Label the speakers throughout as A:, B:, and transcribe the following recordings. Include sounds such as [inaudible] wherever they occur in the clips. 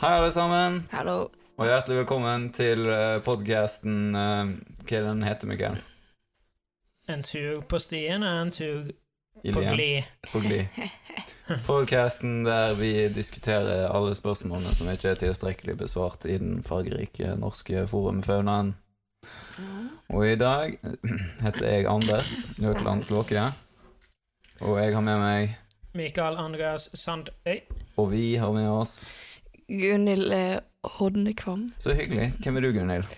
A: Hei, alle sammen,
B: Hallo.
A: og hjertelig velkommen til eh, podcasten eh, Hva er den heter, Mikael?
C: En tur på stien og en tur på
A: Ilien.
C: gli.
A: På gli. Podcasten der vi diskuterer alle spørsmålene som ikke er tilstrekkelig besvart i den fargerike norske forumfaunaen. Og i dag [clears throat] heter jeg Anders Jøkeland Slåke, og jeg har med meg,
C: Mikael Andreas Sandøy.
A: og vi har med oss
B: Gunhild eh, Hodnekvam.
A: Så hyggelig. Hvem er du, Gunhild?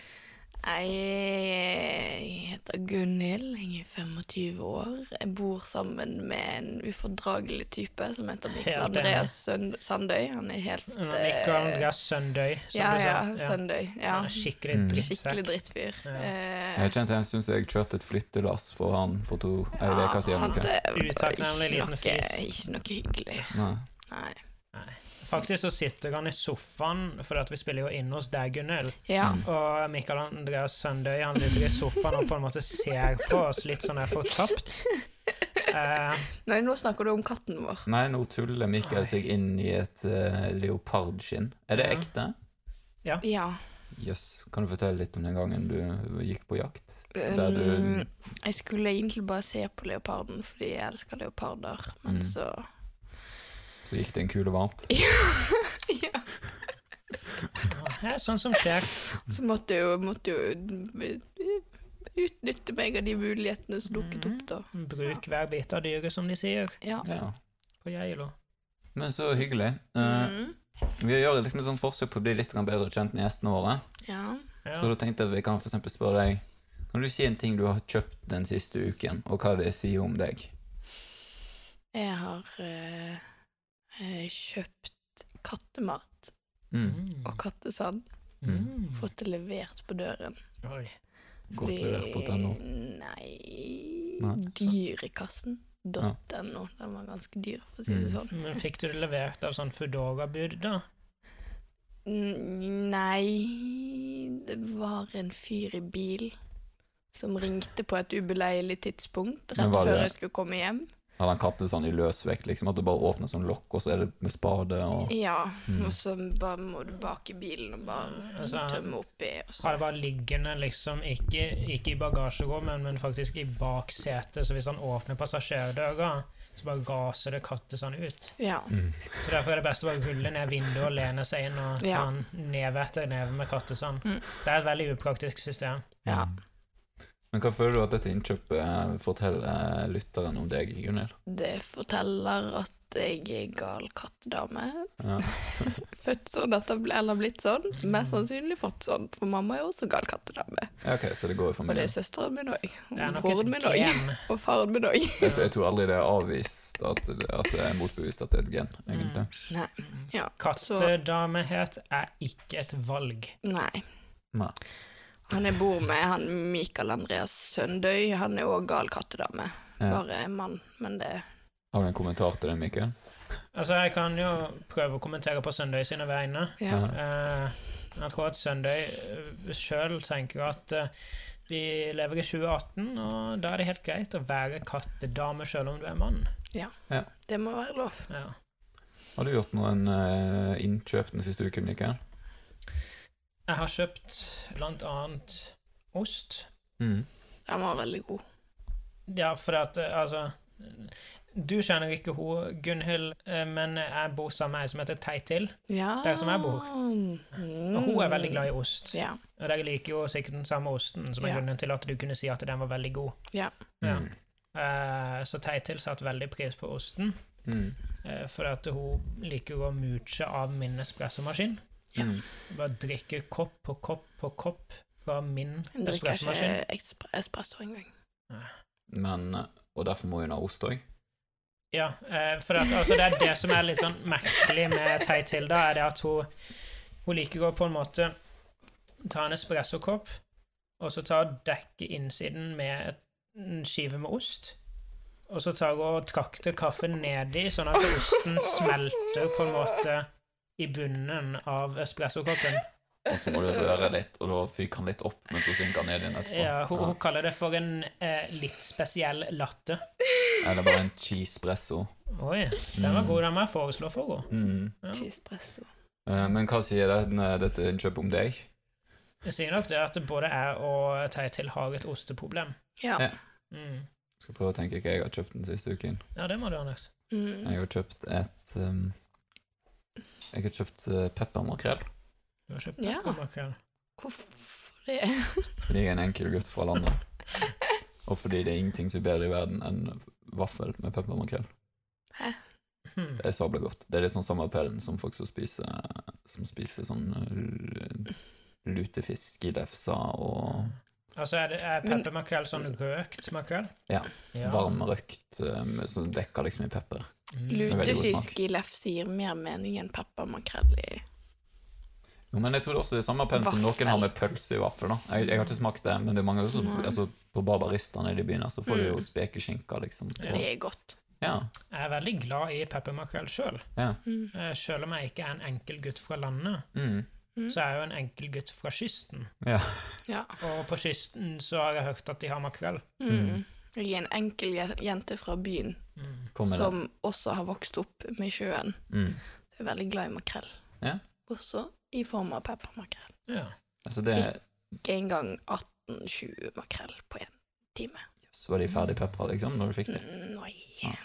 B: Jeg eh, heter Gunhild. Jeg er 25 år. Jeg bor sammen med en ufordragelig type som heter Mikkel
C: Helt enig.
B: Andreas Sønd Sandøy. Han er helt
C: Mikael
B: eh,
C: Andreas Søndøy, som
B: Ja,
C: du sa.
B: ja. Søndøy. Ja.
C: Han er Skikkelig
A: Mm.
C: drittsekk.
B: Skikkelig drittfyr.
C: Ja.
B: Eh,
A: Jeg kjente jeg syns jeg kjørte et flyttelass for han for to ei
B: ja,
A: uke siden.
B: sant,
A: ok?
B: det var
C: Utakknemlig
B: ikke
C: liten
B: noe-
C: fis.
B: Ikke noe hyggelig.
A: Nei.
B: Nei.
C: Faktisk så sitter han i sofaen, for at vi spiller jo inn hos deg, Gunnhild.
B: Ja.
A: Mm.
C: Og Mikael Andreas Søndøy han sitter i sofaen og på en måte ser på oss litt sånn her fortapt. Eh,
B: [laughs] Nei, nå snakker du om katten vår.
A: Nei, nå tuller Mikael
C: Nei.
A: seg inn i et eh, leopardskinn. Er det
C: Ja.
A: ekte?
C: Mm.
B: Ja.
A: Jøss. Kan du fortelle litt om den gangen du gikk på jakt? Der
B: Um,
A: du
B: Jeg skulle egentlig bare se på leoparden, fordi jeg elsker leoparder, men
A: Mm.
B: så
A: Så gikk det en kule varmt?
B: ja.
C: det er sånn som skjer.
B: Så måtte jeg jo, måtte jeg jo utnytte meg av de mulighetene som dukket opp, da.
C: Bruk hver bit av dyret, som de sier
B: Mm. Ja.
A: Ja.
C: på Geilo.
A: Men så hyggelig. Eh,
B: Mm.
A: vi gjør liksom et sånt forsøk på å bli litt grann bedre kjent med gjestene våre.
B: ja.
C: Ja.
A: Så da tenkte jeg at vi kan for eksempel spørre deg Kan du si en ting du har kjøpt den siste uken, og hva det sier om deg?
B: Jeg har eh, eh, kjøpt kattemat
A: Mm.
C: Mm.
B: og kattesand.
C: Mm.
B: Fått det levert på døren.
C: Oi.
A: Godt
B: fordi-
A: levert.no.
B: Nei,
A: Nei.
B: Dyrekassen.
A: Ja.
B: .no. Den var ganske dyr, for å si det
A: Mm.
B: sånn.
C: Men fikk du det levert av sånn Foodora-bud, da?
B: Mm, Nei, det var en fyr i bil som ringte på et ubeleilig tidspunkt
A: Men
B: rett
A: var
B: før
A: det-
B: jeg skulle komme hjem.
A: Hadde han kattesand i løsvekt? Liksom, at det bare åpner sånn lokk, og så er det med spade og
B: Ja,
A: Mm.
B: og så bare må du bak i bilen og bare
C: Altså,
B: tømme oppi. Og så.
C: Har det vært liggende liksom ikke, ikke i bagasjerommet, men faktisk i baksetet, så hvis han åpner passasjerdøra, så bare raser det kattesand ut.
B: Ja.
A: mm.
C: Så derfor er det best å bare rulle ned vinduet og lene seg inn og ta
B: Ja.
C: den neve etter neve med kattesand.
B: Mm.
C: Det er et veldig upraktisk system.
B: Ja.
A: Mm. Men hva føler du at dette innkjøpet eh, forteller lytteren om deg, Gunhild?
B: Det forteller at jeg er gal kattedame.
A: Ja.
B: [laughs] Født sånn at det ble, eller blitt sånn. Mest sannsynlig fått sånn, for mamma er jo også gal kattedame.
A: Ja, ok, så det går i
B: Og det
A: familien.
B: er søsteren min òg.
C: Det er
B: Og
C: nok
B: broren
C: et
B: min òg.
C: gen.
B: Og faren min òg.
A: Jeg, tror- jeg tror aldri det er avvist at, det- at det er motbevist at det er et gen, egentlig.
B: Mm. Ja, [laughs] så-
C: Kattedamehet er ikke et valg.
B: Nei.
A: Nei.
B: Han jeg bor med, han Mikael Andreas Søndøy, han er òg gal kattedame.
A: Ja.
B: Bare en mann, men det
A: Har du en kommentar til det, Mikkel?
C: Altså, jeg kan jo prøve å kommentere på Søndag sine vegne.
B: Ja.
C: Eh, jeg tror at Søndag sjøl tenker at eh, vi lever i 2018, og da er det helt greit å være kattedame sjøl om du er mann.
B: Det må være lov.
C: Ja.
A: Har du gjort noen eh, innkjøp den siste uken, Mikkel?
C: Jeg har kjøpt blant annet ost.
A: Mm.
B: Den var veldig god.
C: Ja, for at eh, altså Du kjenner ikke hun Gunhild, eh, men jeg bor sammen med ei som heter Teitil.
B: Ja.
C: Der som jeg bor.
B: Mm.
C: Og hun er veldig glad i ost.
B: Ja.
C: Og dere liker jo sikkert den samme osten, som er
B: Ja.
C: grunnen til at du kunne si at den var veldig god.
B: Ja.
C: Ja.
A: Mm.
C: Eh, så Teitil satte veldig pris på osten,
A: Mm.
C: eh, for at hun liker å mooche av min espressomaskin.
B: Ja.
A: Mm.
C: Bare drikke kopp på kopp på kopp fra min
B: Hun drikker
C: espressomaskin.
B: ikke ekspre- espresso engang.
A: Men, eh, og derfor må hun ha ost òg?
C: Ja, eh, for at, altså, det er det som er litt sånn merkelig med Tei Tilda, er det at hun, hun liker å på en måte ta en espressokopp, og så ta og dekke innsiden med et- en skive med ost, og så tar hun og trakter kaffen nedi, sånn at osten smelter på en måte i bunnen av espressokoppen.
A: Og så må
B: [laughs]
A: du røre litt, og da fyker han litt opp, men så synker han ned igjen etterpå.
C: Ja, hun, hun kaller det for en eh, litt spesiell latte.
A: Ja. Eller bare en cheesepresso.
C: Oi, den var god, den må jeg foreslå for henne.
A: Mm.
C: Ja.
B: Cheesepresso.
A: Eh, Men hva sier denne, dette innkjøpet om deg?
C: Jeg sier nok det at både jeg og Teitil har et osteproblem.
B: Ja.
A: Ja.
C: Mm.
A: Skal prøve å tenke hva jeg har kjøpt den siste uken.
C: Ja, det må du, Anders.
B: Mm.
A: Jeg har kjøpt et um, Jeg har kjøpt eh, peppermakrell
C: Du har kjøpt
B: Ja.
C: peppermakrell.
B: Hvorfor det? [laughs]
A: fordi jeg er en enkel gutt fra landet. Og fordi det er ingenting som er bedre i verden enn vaffel med peppermakrell.
B: Hæ?
A: Mm.
C: Hmm.
A: Det er sabla godt. Det er litt sånn samme appellen som folk som spiser, som spiser sånn eh, lutefisk i lefsa og
C: Altså, er, det- er
B: Men-
C: peppermakrell sånn røkt makrell?
A: Ja. varm røkt eh, med- som dekker liksom i pepper.
C: Mm.
A: veldig god smak.
B: Lutefisk i lefse gir mer mening enn peppermakrell i
A: Jo, men jeg tror det også det er samme appellen som noen
B: Vaffel.
A: har med pølse i vaffel. da. Jeg, jeg har ikke smakt det, men det er mange som
B: Nei.
A: altså, På barbarista nede i byen her, så får du jo
B: Mm.
A: spekeskinka, liksom.
C: Ja.
A: På.
B: Det er godt.
A: Ja.
C: Jeg er veldig glad i peppermakrell sjøl.
B: Mm.
C: Sjøl Eh, om jeg ikke er en enkel gutt fra landet,
A: Mm.
B: Mm.
C: så er jeg jo en enkel gutt fra kysten.
A: ja.
B: Ja.
C: Og på kysten så har jeg hørt at de har makrell.
B: Mm. Jeg er en enkel je- jente fra byen
C: Mm.
A: Kom med det.
B: som også har vokst opp med sjøen.
A: Mm.
B: Jeg er veldig glad i makrell.
A: Ja.
B: Også i form av peppermakrell.
C: Ja.
A: Altså, det
B: Ikke engang 18-20 makrell på én time.
A: Så var de ferdig pepra, liksom, når du fikk det.
B: Mm, Nei.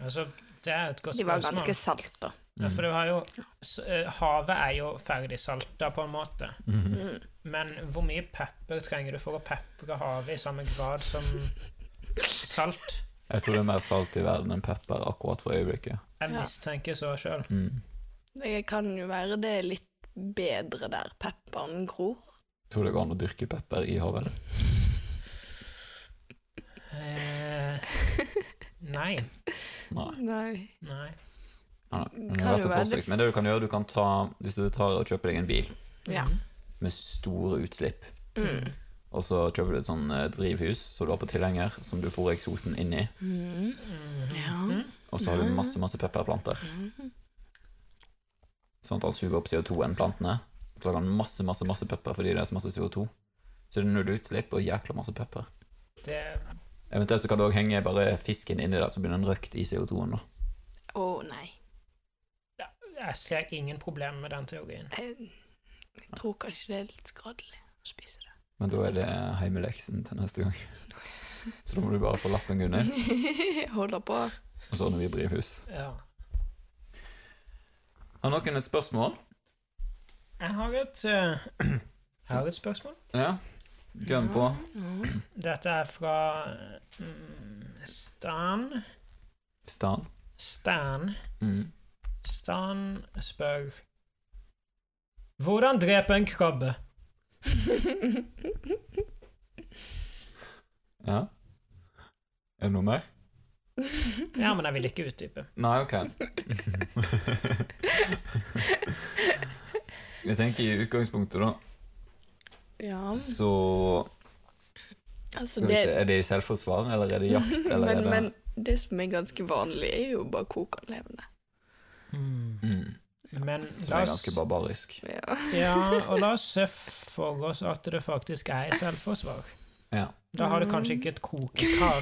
C: Altså, det er et godt
B: De var
C: spørsmål.
B: ganske Mm. salte.
C: Ja, for du har jo s- eh, Havet er jo ferdigsalta, på en måte.
A: Mhm.
B: Mm.
C: Men hvor mye pepper trenger du for å pepre havet i samme grad som salt?
A: Jeg tror det er mer salt i verden enn pepper akkurat for øyeblikket.
C: Jeg
B: Ja.
C: mistenker så sjøl.
A: Mm.
B: Det kan jo være det er litt bedre der pepperen gror.
A: Tror det går an å dyrke pepper i havet?
C: Eh, nei.
A: Nei.
B: Nei.
C: Nei.
A: Ja, men,
B: Kan
A: det er
B: jo være
A: forsøk. men det du kan gjøre, du kan ta Hvis du tar og kjøper deg en bil
B: Ja.
A: med store utslipp,
B: Mm.
A: og så kjøper du et sånn eh, drivhus som du har på tilhenger, som du fôrer eksosen inn i,
B: Mm.
C: Mhm.
B: Ja.
A: og så har du
B: Ja.
A: masse, masse pepperplanter, sånn at han suger opp CO2-en plantene. Så lager han masse, masse, masse pepper fordi det er så masse CO2. Så det er null utslipp og jækla masse pepper.
C: Det
A: Eventuelt så kan du òg henge bare fisken inni der, så blir den røkt i CO2-en, da.
B: Å nei.
C: Jeg ser ingen problem med den teorien.
B: Jeg, jeg tror kanskje det er litt skadelig å spise det.
A: Men da er det heimeleksen til neste gang. Så da må du bare få lappen, Gunnhild,
B: [laughs] Jeg Holder på.
A: og så ordner vi drivhus.
C: Ja.
A: Har noen et spørsmål?
C: Jeg har et eh, [clears throat] Jeg har et spørsmål.
A: Ja. Gønn på.
B: Ja.
C: Dette er fra mm, Stan.
A: Stan.
C: Stan.
A: Mm.
C: Stan spør Hvordan drepe en krabbe?
A: Ja. Er det noe mer?
C: [laughs] Ja, men jeg vil ikke utdype.
A: Nei,
B: [laughs]
A: ok. Jeg tenker i utgangspunktet, da,
B: ja.
A: så
B: Altså
A: skal vi
B: det
A: se, Er det i selvforsvar, eller
B: [laughs]
A: er det jakt, eller
B: men,
A: er det
B: men det som er ganske vanlig, er jo bare koke den levende.
A: mm,
C: Men
A: Som
C: la
A: er
C: oss
A: ganske barbarisk.
B: Ja.
C: [laughs] Ja,
B: [laughs]
C: og la oss se for oss at det faktisk er i selvforsvar.
A: Ja.
C: Da har du kanskje ikke et kokekar.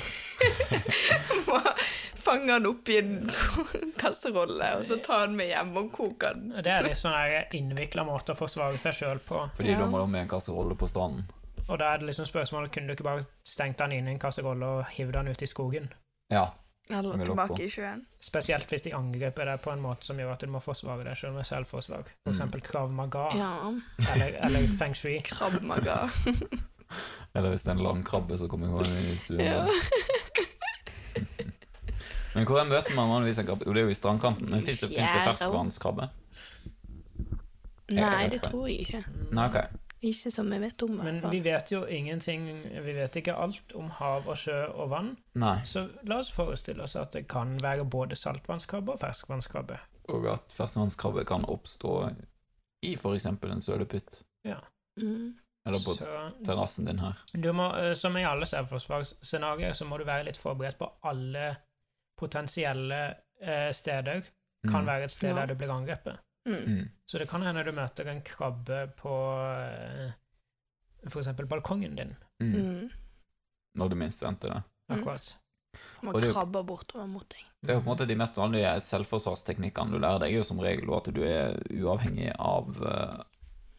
B: Fange den opp i en [laughs] kasserolle, og så ta den med hjem og koke den.
C: Det er litt sånn her innvikla måte å forsvare seg sjøl på.
A: Fordi
B: Ja.
A: da må du ha med en kasserolle på stranden.
C: Og da er det liksom spørsmålet kunne du ikke bare stengt den inn i en kasserolle og hivd den ut i skogen?
A: Ja.
B: Eller
A: Med lokk på.
B: tilbake i sjøen.
C: Spesielt hvis de angriper deg på en måte som gjør at du må forsvare deg sjøl med selvforsvar. For
A: Mm.
C: eksempel krav maga
B: Ja.
C: eller, eller feng shui.
B: Krabbemaga.
A: [laughs] Eller hvis det er en landkrabbe som kommer i stuen.
B: Ja. [laughs]
A: Men hvor møter man vanligvis en krabbe? Jo, det er jo i strandkanten. Men fins det, finnes det
B: Fjæra.
A: ferskvannskrabbe?
B: Nei,
A: vet
B: det
A: det.
B: tror jeg ikke.
A: Nei, ok.
B: Ikke som jeg vet om. i
C: Men
B: hvert fall.
C: vi vet jo ingenting Vi vet ikke alt om hav og sjø og vann,
A: Nei.
C: så la oss forestille oss at det kan være både saltvannskrabbe og ferskvannskrabbe.
A: Og at ferskvannskrabbe kan oppstå i f.eks. en sølepytt.
B: Mm.
A: Eller på
C: Så
A: terrassen din her.
C: Du må, eh, som i alle selvforsvarsscenarioer, så må du være litt forberedt på alle potensielle eh, steder. Kan være et sted
B: Ja.
C: der du blir angrepet.
B: Mm.
A: Mm.
C: Så det kan hende du møter en krabbe på eh, for eksempel balkongen din.
A: Mm.
B: Mm.
A: Når du minst venter det.
B: Mm.
C: Akkurat.
B: Man
A: Og det er jo-
B: krabber bortover mot deg.
A: Det er jo på en måte De mest vanlige selvforsvarsteknikkene du lærer deg, er jo som regel at du er uavhengig av, eh,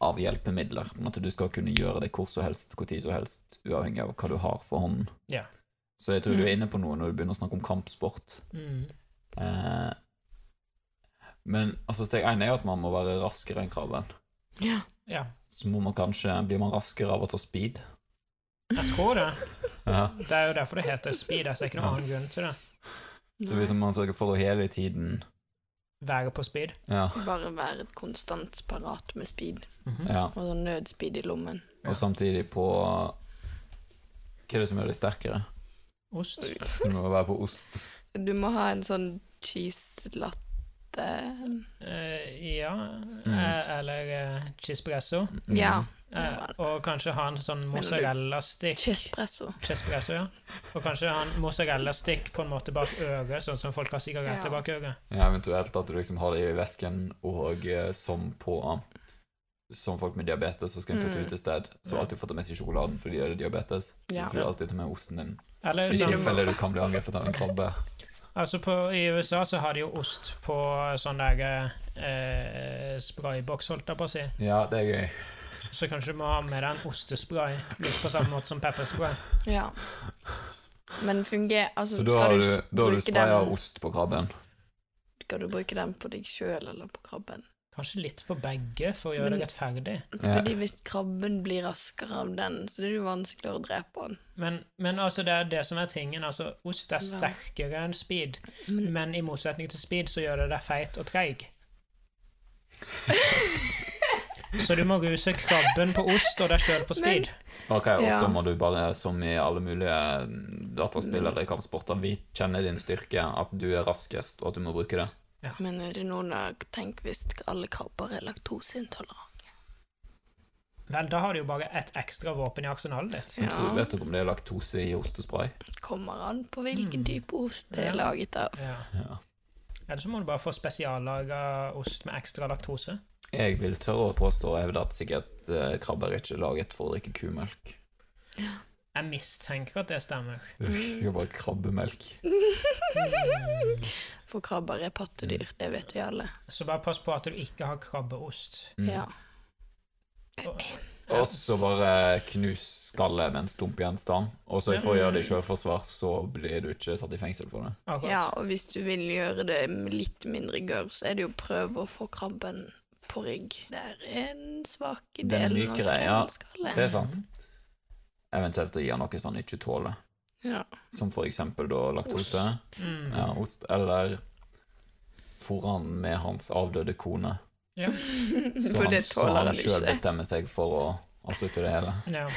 A: av hjelpemidler. På en måte Du skal kunne gjøre det hvor som helst, hvor tid som helst, uavhengig av hva du har for hånden.
C: Ja.
A: Så jeg tror du er
B: Mm.
A: inne på noe når du begynner å snakke om kampsport.
C: Mm.
A: Eh, men altså, steg én er jo at man må være raskere enn krabben.
B: Ja.
C: ja.
A: Så må man kanskje, blir man raskere av å ta speed.
C: Jeg tror det.
A: Ja.
C: Det er jo derfor det heter speed. altså, Det er ikke noen annen grunn til det.
A: Så hvis man sørger for å hele tiden
C: Være på speed.
A: ja,
B: Bare være et konstant parat med speed,
C: Mhm.
A: ja.
B: og sånn nødspeed i lommen.
A: Og samtidig på Hva er det som gjør deg sterkere?
C: Ost.
A: Som å være på ost.
B: Du må ha en sånn cheese latte
A: Mm.
C: Eh, ja. Eh, eller eh, cheesepresso.
A: Mm.
B: Ja,
C: Eh,
B: Ja.
C: og kanskje ha en sånn mozzarella-stikk.
B: cheesepresso.
C: Cheesepresso, ja. Og kanskje ha en mozzarella-stikk på en måte bak øret, sånn som folk har
B: Ja.
C: sigaretter bak øret.
A: Ja, eventuelt at du liksom har det i vesken, og eh, som på Som folk med diabetes, så skal en putte
B: Mm.
A: ut et sted. Så alltid få ta med seg sjokoladen fordi det er diabetes.
B: Ja.
A: Fordi du alltid tar med osten din.
C: Eller
A: I
B: Ja.
C: sånn
A: tilfelle du kan bli angrepet av en krabbe.
C: Altså på, I USA så har de jo ost på sånn der eh, sprayboks, holdt jeg på å si.
A: Ja, det er gøy.
C: Så kanskje du må ha med deg en ostespray, litt på samme måte som pepperspray.
B: Ja. Men funger... Altså,
A: Så da
B: skal
A: har
B: du,
A: du, da har du
B: bruke
A: spraya
B: den-
A: ost på krabben.
B: skal du bruke den på deg sjøl eller på krabben?
C: Kanskje litt på begge for å gjøre
B: Mm.
C: det rettferdig.
A: Ja.
B: Fordi hvis krabben blir raskere av den, så er det jo vanskeligere å drepe den.
C: Men, men altså det er det som er tingen. altså Ost er
B: Ja. Mm.
C: sterkere enn speed,
B: Men
C: men i motsetning til speed så gjør det deg feit og treig. Så du må ruse krabben på ost og deg sjøl på speed.
A: Ok, og så
B: Ja.
A: må du bare, som i alle mulige mm,
B: Mm.
A: dataspill eller kampsporter, vi kjenner din styrke, at du er raskest, og at du må bruke det.
B: [laughs] Men er det noen av Tenk hvis alle krabber er laktoseintolerante.
C: Vel, da har du jo bare ett ekstra våpen i arsenalet ditt.
A: Men Så
B: Ja.
A: vet dere om det er laktose i ostespray?
B: Kommer an på hvilken
C: Mm.
B: type ost det
C: Ja.
B: er laget av.
C: Ja.
A: Ja.
C: Eller så må du bare få spesiallaga ost med ekstra laktose.
A: Jeg vil tørre å påstå og hevde at sikkert eh, krabber ikke er laget for å drikke kumelk.
C: Jeg mistenker at
B: [laughs]
C: det stemmer.
A: Det er [laughs] Sikkert bare krabbemelk.
B: [laughs] For krabber er pattedyr,
A: Mm.
B: det vet vi alle.
C: Så bare pass på at du ikke har krabbeost.
A: Mm.
B: Ja.
C: Og-
A: Og så bare knus skallet med en stump gjenstand, og så for å gjøre det i selvforsvar, så blir du ikke satt i fengsel for det.
C: Akkurat.
B: ja, og hvis du vil gjøre det med litt mindre gørr, så er det jo å prøve å få krabben på rygg. Det er en svak
A: Den
B: del av
A: mykere, ja.
B: skallet.
A: Det er sant. Eventuelt å gi han noe sånn ikke tåler,
B: Ja.
A: som for eksempel da laktose.
C: Mm.
A: Ja, ost. Eller fôre han med hans avdøde
B: [laughs]
A: kone.
C: Ja.
A: Så
B: For
A: han,
B: det
A: så
B: tåler
A: han
B: han
A: sjøl
B: ikke.
A: bestemmer seg for å avslutte det hele.
C: Ja.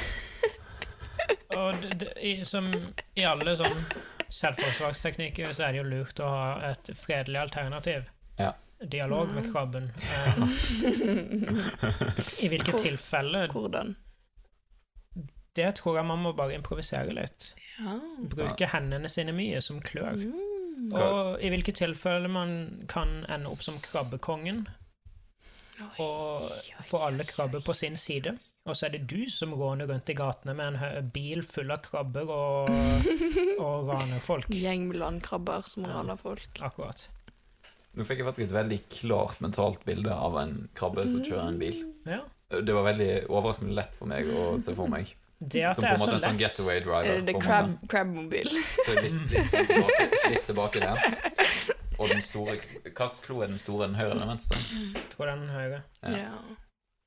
C: Og det, det, i, som i alle sånn selvforsvarsteknikker, så er det jo lurt å ha et fredelig alternativ.
A: Ja.
C: Dialog med krabben. Eh, I hvilke
B: Hvor-
C: tilfeller?
B: [laughs] Hvordan?
C: Det tror jeg man må bare improvisere litt.
B: Ja.
C: Bruke hendene sine mye som klør.
B: Mm.
C: Og i hvilke tilfeller man kan ende opp som krabbekongen og få alle krabber på sin side. Og så er det du som råner rundt i gatene med en hø- bil full av krabber og, og raner folk.
B: Gjeng med landkrabber som
C: Ja.
B: raner folk.
C: Akkurat.
A: Nå fikk jeg faktisk et veldig klart mentalt bilde av en krabbe som kjører
B: Mm.
A: en bil.
C: Ja.
A: Det var veldig overraskende lett for meg å se for meg.
C: Det at
A: Som
C: det
A: på
C: er
A: en måte
C: så
A: en sånn
C: lett.
A: getaway driver.
B: Er Eh, det
A: på en
B: crab,
A: måte.
B: crabmobil?
A: Så jeg er litt, litt, sånn tilbake, litt tilbakelent. [laughs] Og den store Hvilken klo er den store? Den høyre eller den venstre?
C: Tror den høyre.
A: Ja.
B: Ja.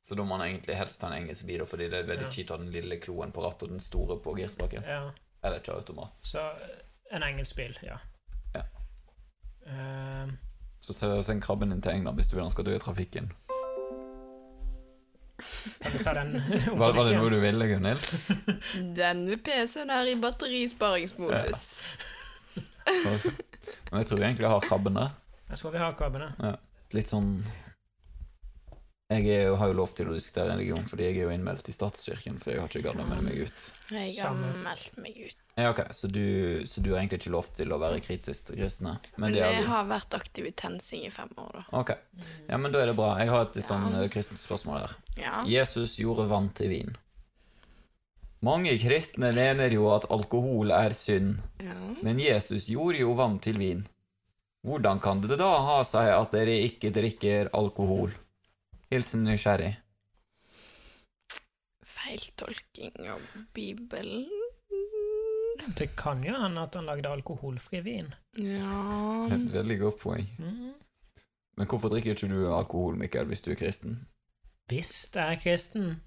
A: Så da må man egentlig helst ta en engelsk bil, fordi det er veldig
C: Ja.
A: kjipt å ha den lille kloen på rattet og den store på girspaken.
C: Ja.
A: Eller kjøreautomat.
C: Så en engelsk bil, ja.
A: Ja.
C: Eh,
A: Så se- send krabben din til England hvis du vil han skal dø i trafikken.
C: kan vi ta
A: [laughs]
C: den om
A: Var, var det
C: igjen?
A: noe du ville, Gunhild?
C: [laughs]
B: Denne PC-en er i batterisparingsmodus.
A: Men jeg tror egentlig jeg har krabben der.
C: Jeg tror vi har krabbene.
A: Litt sånn Jeg er jo, har jo lov til å diskutere religion, fordi jeg er jo innmeldt i statskirken, for jeg har ikke gadda med meg ut.
B: Jeg har
C: Samme.
B: meldt meg ut.
A: Ja, ok, så du, så du har egentlig ikke lov til å være kritisk til kristne? Men
B: Men
A: det er
B: jeg
A: du.
B: har vært aktiv i TenSing i fem år, da.
A: Ok, ja, men da er det bra. Jeg har et litt sånn
B: Ja.
A: eh, kristent spørsmål her.
B: Ja.
A: Jesus gjorde vann til vin. Mange kristne mener jo at alkohol er synd,
B: ja.
A: men Jesus gjorde jo vann til vin. Hvordan kan det da ha seg at dere ikke drikker alkohol? Hilsen nysgjerrig.
B: Feiltolking av Bibelen
C: Det kan jo hende at han lagde alkoholfri vin.
B: Ja
A: Et veldig godt poeng.
C: Mm.
A: Men hvorfor drikker ikke du alkohol, Mikael, hvis du er kristen?
C: Hvis det er
A: [laughs]
C: kristen.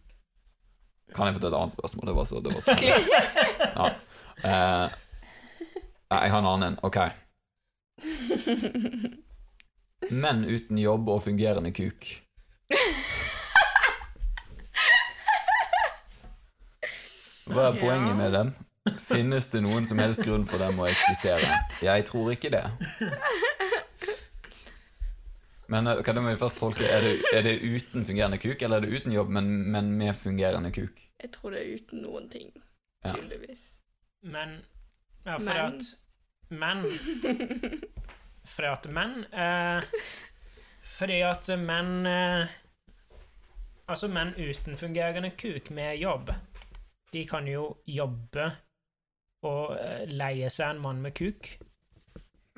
A: Kan jeg få ta et annet spørsmål? Det var så, det var så. Ja. Eh, nei, jeg har en annen en. Ok. Menn uten jobb og fungerende kuk. Hva er poenget med dem? Finnes det noen som helst grunn for dem å eksistere? Jeg tror ikke det. Men eh, hva det må vi først tolke? Er det, er det uten fungerende kuk, eller er det uten jobb, men, men med fungerende kuk?
B: Jeg tror det er uten noen ting,
A: Ja.
B: tydeligvis.
C: Men ja, for
B: Men.
C: at Men Fordi at menn eh, Fordi at menn eh, Altså menn uten fungerende kuk med jobb, de kan jo jobbe og eh, leie seg en mann med kuk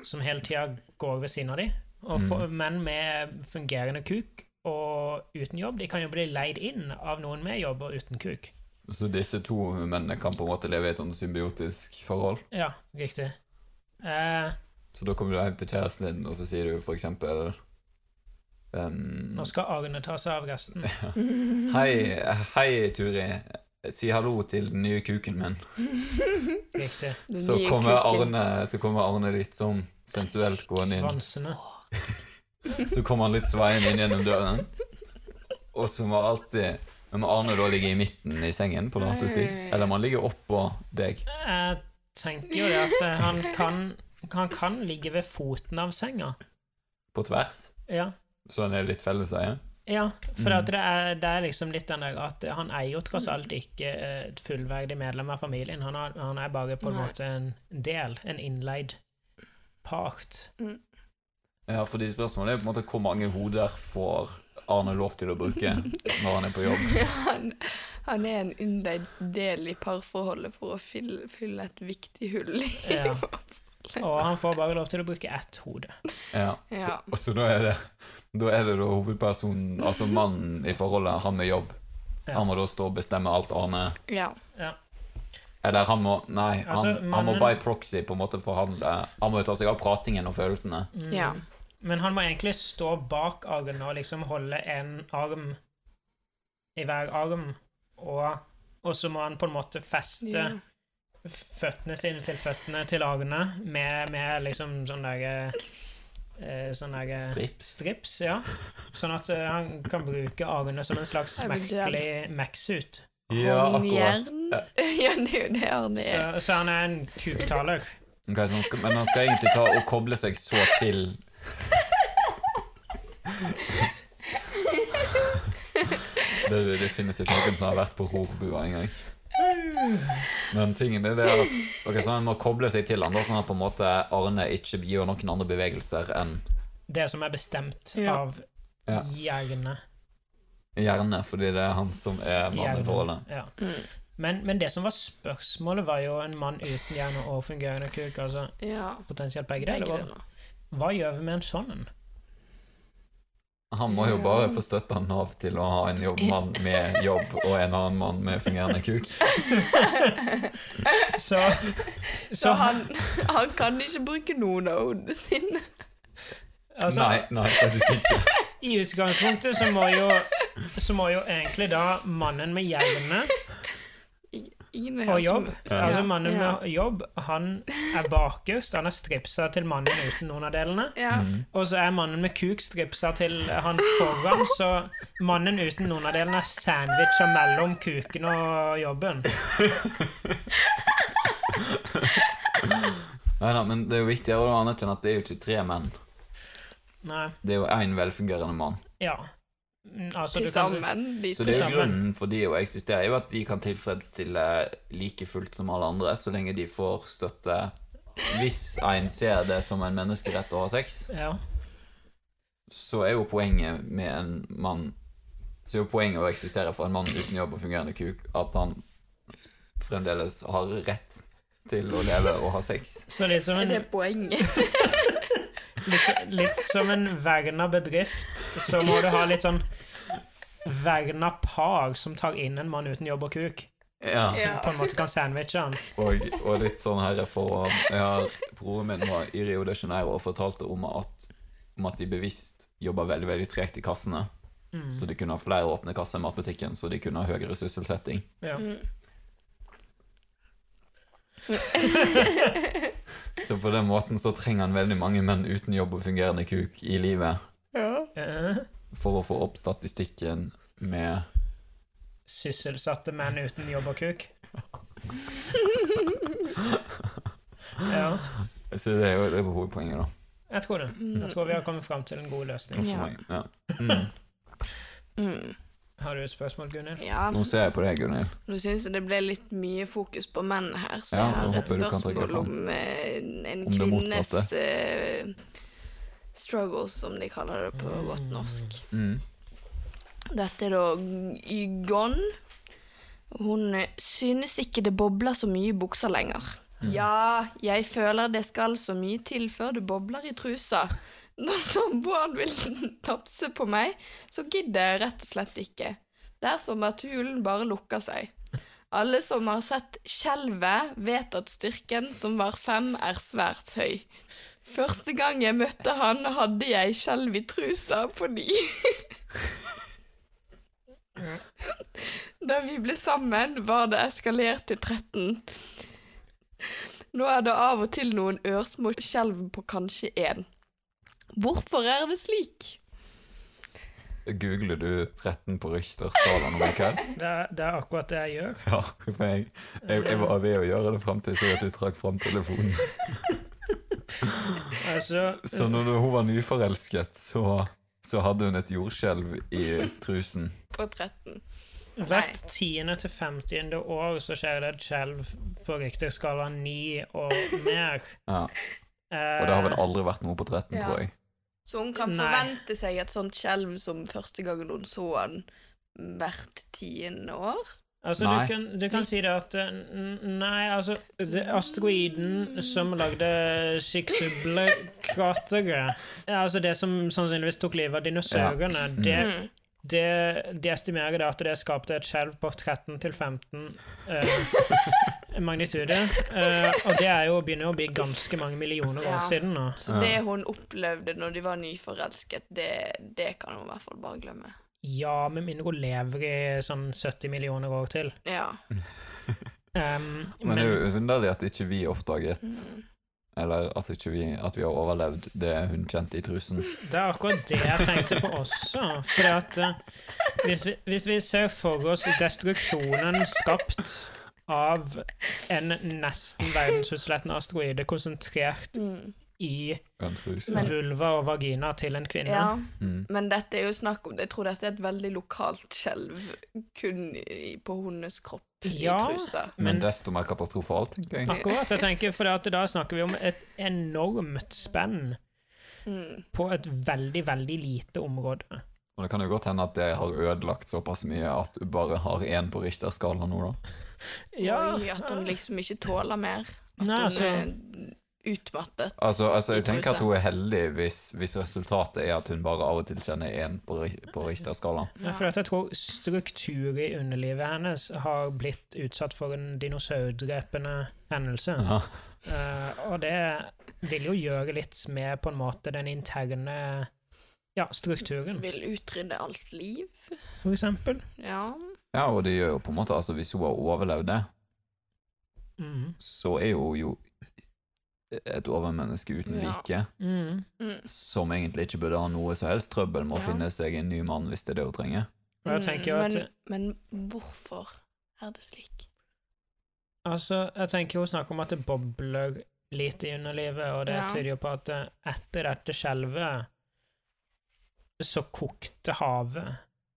C: som hele tida går ved siden av de. Og for, menn med fungerende kuk og uten jobb, de kan jo bli leid inn av noen med jobb og uten kuk.
A: Så disse to mennene kan på en måte leve i et sånn symbiotisk forhold?
C: Ja, riktig. Eh,
A: Så da kommer du hjem til kjæresten din, og så sier du for eksempel ehm,
C: nå
A: [laughs]
C: skal Arne ta seg av resten.
B: Mm. [laughs]
A: Hei, hei, Turi. Si hallo til den nye kuken min.
C: Riktig.
B: Den
A: Så
B: nye
A: kommer,
B: kuken.
A: Arne, så kommer Arne litt sånn sensuelt gående inn.
C: Svansene.
A: Så kommer han litt sveiende inn gjennom døren. [laughs] Og så må alltid men må Arne da ligge i midten i sengen på nattestid? Eller må han ligge oppå deg?
C: Jeg tenker jo det at eh, han kan, han kan ligge ved foten av senga.
A: På tvers?
C: Ja.
A: Så han er litt felleseie?
C: Ja, for at det, er, det er liksom litt den der at han er jo tross alt ikke eh, et fullverdig medlem av familien. Han er, han er bare på en
B: Nei.
C: måte en del, en innleid part.
B: Mm.
A: Ja, fordi spørsmålet er på en måte hvor mange hoder får Arne lov til å bruke
B: [laughs]
A: når han er på jobb?
B: Han, han er en innleid del i parforholdet for å fylle, fylle et viktig hull i [laughs]
C: Ja.
B: parforholdet.
C: Og han får bare lov til å bruke ett hode.
A: Ja.
B: Ja.
A: Og så da er det da er det da hovedpersonen, altså mannen i forholdet, han med jobb.
C: Ja.
A: Han må da stå og bestemme alt Arne
B: ja.
A: Eller han må Nei, han,
C: Altså,
A: han må
C: mannen-
A: by proxy på en måte forhandle. Han må jo ta seg av pratingen og følelsene.
B: ja.
C: Mm. Men han må egentlig stå bak armen og liksom holde en arm i hver arm, og, og så må han på en måte feste
B: ja.
C: føttene sine til føttene til armene med, med liksom sånn derre eh, Sånn derre
A: Strips.
C: strips, ja. Sånn at eh, han kan bruke armene som en slags
B: Jeg blir død.
C: merkelig Max-suit.
B: Håndjern. [laughs] Ja, det er jo det Arne
C: Så,
B: er.
C: så han er en kuktaler.
A: Ok, så han skal, men han skal egentlig ta og koble seg så til Det er definitivt noen som har vært på horbua en gang. Men tingen er det at Ok, så han må koble seg til han da, sånn at på en måte Arne ikke gjør noen andre bevegelser enn
C: Det som er bestemt
B: Ja.
C: av
A: Ja.
C: hjernen.
A: hjerne, fordi det er han som er mannen i forholdet.
C: Ja.
B: Mm.
C: Men, men det som var spørsmålet, var jo en mann uten hjerne og fungerende kuk. Altså
B: Ja.
C: potensielt begge
B: Begge
C: deler. og [laughs]
B: deler. [laughs]
C: Hva gjør vi med en sånn en?
A: Han må jo bare få støtte av Nav til å ha en jobb, mann med jobb og en annen mann med fungerende kuk.
C: Så,
B: Så
C: så
B: han, han kan ikke bruke noen av hodene sine.
C: altså,
A: Nei, nei, faktisk ikke.
C: I utgangspunktet så må jo så må jo egentlig da mannen med hjerne
B: Ingen er
C: og
B: her som-
C: jobb Altså mannen
B: ja.
C: med jobb, han er bakerst, han er stripsa til mannen uten noen av delene.
B: ja.
A: Mm.
C: Og så er mannen med kuk stripsa til han foran, så mannen uten noen av delene er sandwicha mellom kuken og jobben.
A: Nei da, men det er jo viktigere å anerkjenne at det er jo ikke tre menn.
C: Nei,
A: Det er jo én velfungerende mann.
C: ja. Mm, Altså,
B: Til
C: du kan
B: sammen, de
A: Så
B: to.
A: det er
C: Til
A: jo grunnen for de å eksistere, er jo at de kan tilfredsstille like fullt som alle andre, så lenge de får støtte hvis en ser det som en menneskerett å ha sex.
C: Ja.
A: så er jo poenget med en mann Så er jo poenget å eksistere for en mann uten jobb og fungerende kuk at han fremdeles har rett til å leve og ha sex.
C: Så litt som
B: Er
C: en
B: det poenget?
C: litt, litt som en verna bedrift, så må du ha litt sånn verna par som tar inn en mann uten jobb og kuk.
A: Ja.
B: Ja.
C: Altså, På en måte kan sandwiche han.
A: Og, og litt sånn her for jeg har, Broren min var i Rio de Janeiro og fortalte om at, om at de bevisst jobber veldig veldig tregt i kassene.
C: Mm.
A: Så de kunne ha flere åpne kasser i matbutikken, så de kunne ha høyere sysselsetting.
C: Ja.
B: Mm.
A: [laughs] Så på den måten så trenger han veldig mange menn uten jobb og fungerende kuk i livet
C: Eh,
A: for å få opp statistikken med
C: Sysselsatte menn uten jobb og kuk. Ja,
A: Så det er jo det er hovedpoenget, da.
C: jeg tror det. Mm. Jeg tror vi har kommet fram til en god
A: Det er
C: løsning.
A: for
B: Ja.
A: mange. Ja. Mm.
B: Mm.
C: Har du et spørsmål, Gunhild?
B: Ja,
A: Nå ser jeg på deg, Gunhild.
B: nå syns jeg det ble litt mye fokus på menn her, så
A: Ja,
B: jeg
A: nå
B: har et
A: håper jeg du kan trekke
B: spørsmål
A: fram.
B: om eh, en
A: Om det
B: kvinnes
A: motsatte.
B: eh, struggles, som de kaller det på godt norsk.
A: Mm.
B: Dette er da Ygon. Hun eh, synes ikke det bobler så mye i buksa lenger. Ja, jeg føler det skal så mye til før det bobler i trusa. Når samboeren vil tafse på meg, så gidder jeg rett og slett ikke. Det er som at hulen bare lukker seg. Alle som har sett skjelvet, vet at styrken som var fem, er svært høy. Første gang jeg møtte han, hadde jeg skjelv i trusa på ny. Da vi ble sammen, var det eskalert til 13. Nå er det av og til noen ørsmå skjelv på kanskje én. Hvorfor er det slik?
A: Googler du 13 på Richter-skalaen om ikke?
C: Det er, det er akkurat det jeg gjør.
A: [laughs] Ja, for jeg, jeg, jeg var ved å gjøre det fram til så at du trakk fram telefonen.
C: Altså,
A: Så når hun var nyforelsket, så, så hadde hun et jordskjelv i trusen.
B: På 13.
C: Hvert 10. til 50. år så skjer det et skjelv på Richter-skala 9 og mer.
A: Ja,
C: Eh,
A: og det har vel aldri vært noe på 13,
B: Ja.
A: tror jeg.
B: Så hun kan
C: Nei.
B: forvente seg et sånt skjelv som første gangen hun så han hvert tiende år?
C: altså,
A: Nei.
C: Du, kan, du kan si det at eh, n- Nei, altså det, Asteroiden som lagde Skikksubble-krateret ja, Altså det som sannsynligvis tok livet av dinosaurene,
A: Ja. Mm.
C: det,
B: Mm.
C: det, de estimerer da at det skapte et skjelv på 13 til 15 eh, magnitude. Eh, og det er jo, begynner jo å bli ganske mange millioner år
B: Ja.
C: siden nå.
B: Så det hun opplevde når de var nyforelsket, det, det kan hun i hvert fall bare glemme.
C: Ja, med mindre hun lever i sånn 70 millioner år til.
B: Ja.
C: Ehm,
A: Men
C: men
A: det er jo underlig at ikke vi oppdaget
B: Mm.
A: Eller at, ikke vi, at vi har overlevd det hun kjente i trusen.
C: det er akkurat det jeg tenkte på også. For at eh, hvis, vi, hvis vi ser for oss destruksjonen skapt av en nesten verdensutslettende asteroide konsentrert
B: Mm.
C: i
A: En truse.
B: Men-
C: vulva og vagina til en kvinne
B: ja.
A: Mm.
B: Men dette er jo snakk om Jeg tror dette er et veldig lokalt skjelv, kun i, på hundenes kropp
C: Ja.
B: i trusa.
A: Men
C: Men-
A: desto mer katastrofalt, tenker jeg.
C: Akkurat, jeg tenker, for at da snakker vi om et enormt spenn
B: Mm.
C: på et veldig, veldig lite område.
A: Og det kan jo godt hende at det har ødelagt såpass mye at du bare har én på Richter-skala nå, da.
B: Oi, at hun liksom ikke tåler mer. At
C: Nei,
B: hun
C: altså,
B: er utmattet.
A: Altså, altså jeg
B: I
A: tenker at
B: truse.
A: hun er heldig hvis, hvis resultatet er at hun bare av og til kjenner én på, Ri- på Richter-skalaen.
C: Ja, for at jeg tror struktur i underlivet hennes har blitt utsatt for en dinosaurdrepende hendelse.
A: Ja.
C: Eh, og det vil jo gjøre litt med på en måte den interne ja, strukturen,
B: Vil utrydde alt liv.
C: for eksempel.
B: Ja.
A: Ja, og det gjør jo på en måte altså Hvis hun har overlevd det,
C: Mm.
A: så er hun jo et overmenneske uten
B: Ja.
A: like,
C: Mm.
B: Mm.
A: som egentlig ikke burde ha noe som helst trøbbel med å
B: Ja.
A: finne seg en ny mann hvis det er det hun trenger.
C: Og jeg tenker jo
B: men,
C: at
B: Mm. men hvorfor er det slik?
C: Altså, jeg tenker jo snakk om at det bobler litt i underlivet, og det
B: Ja.
C: tyder jo på at eh, etter dette skjelvet så kokte havet,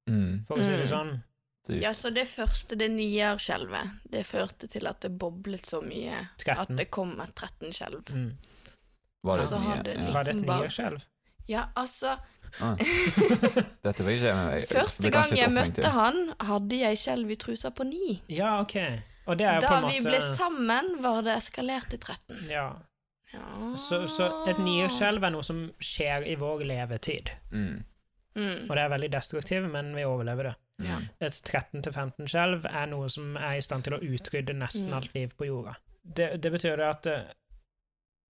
A: Mm.
C: for å si det
B: Mm.
C: sånn.
A: Typ.
B: Ja, så det første, det nier-skjelvet, det førte til at det boblet så mye at
C: 13.
B: det kom et 13 skjelv.
C: Mm.
A: Var det
B: Så har det
A: mye? Ja.
B: liksom-
C: Var det et
B: bare-
C: nyårsskjelv?
B: Ja, altså [laughs]
A: Dette vil ikke jeg med meg.
B: Første
A: Det kan
B: gang
A: ikke
B: jeg
A: ta poeng til.
B: møtte han, hadde jeg skjelv i trusa på ni.
C: Ja, OK. Og det er jo på
B: Da
C: en
B: vi
C: måte
B: ble sammen, var det eskalert til 13.
C: Ja.
B: Ja.
C: Så, så et
B: Ah.
C: nierskjelv er noe som skjer i vår levetid.
A: Mm.
B: Mm.
C: Og det er veldig destruktivt, men vi overlever det.
B: Ja.
C: Et 13-15 skjelv er noe som er i stand til å utrydde nesten
B: Mm.
C: alt liv på jorda. Det, det betyr det at eh,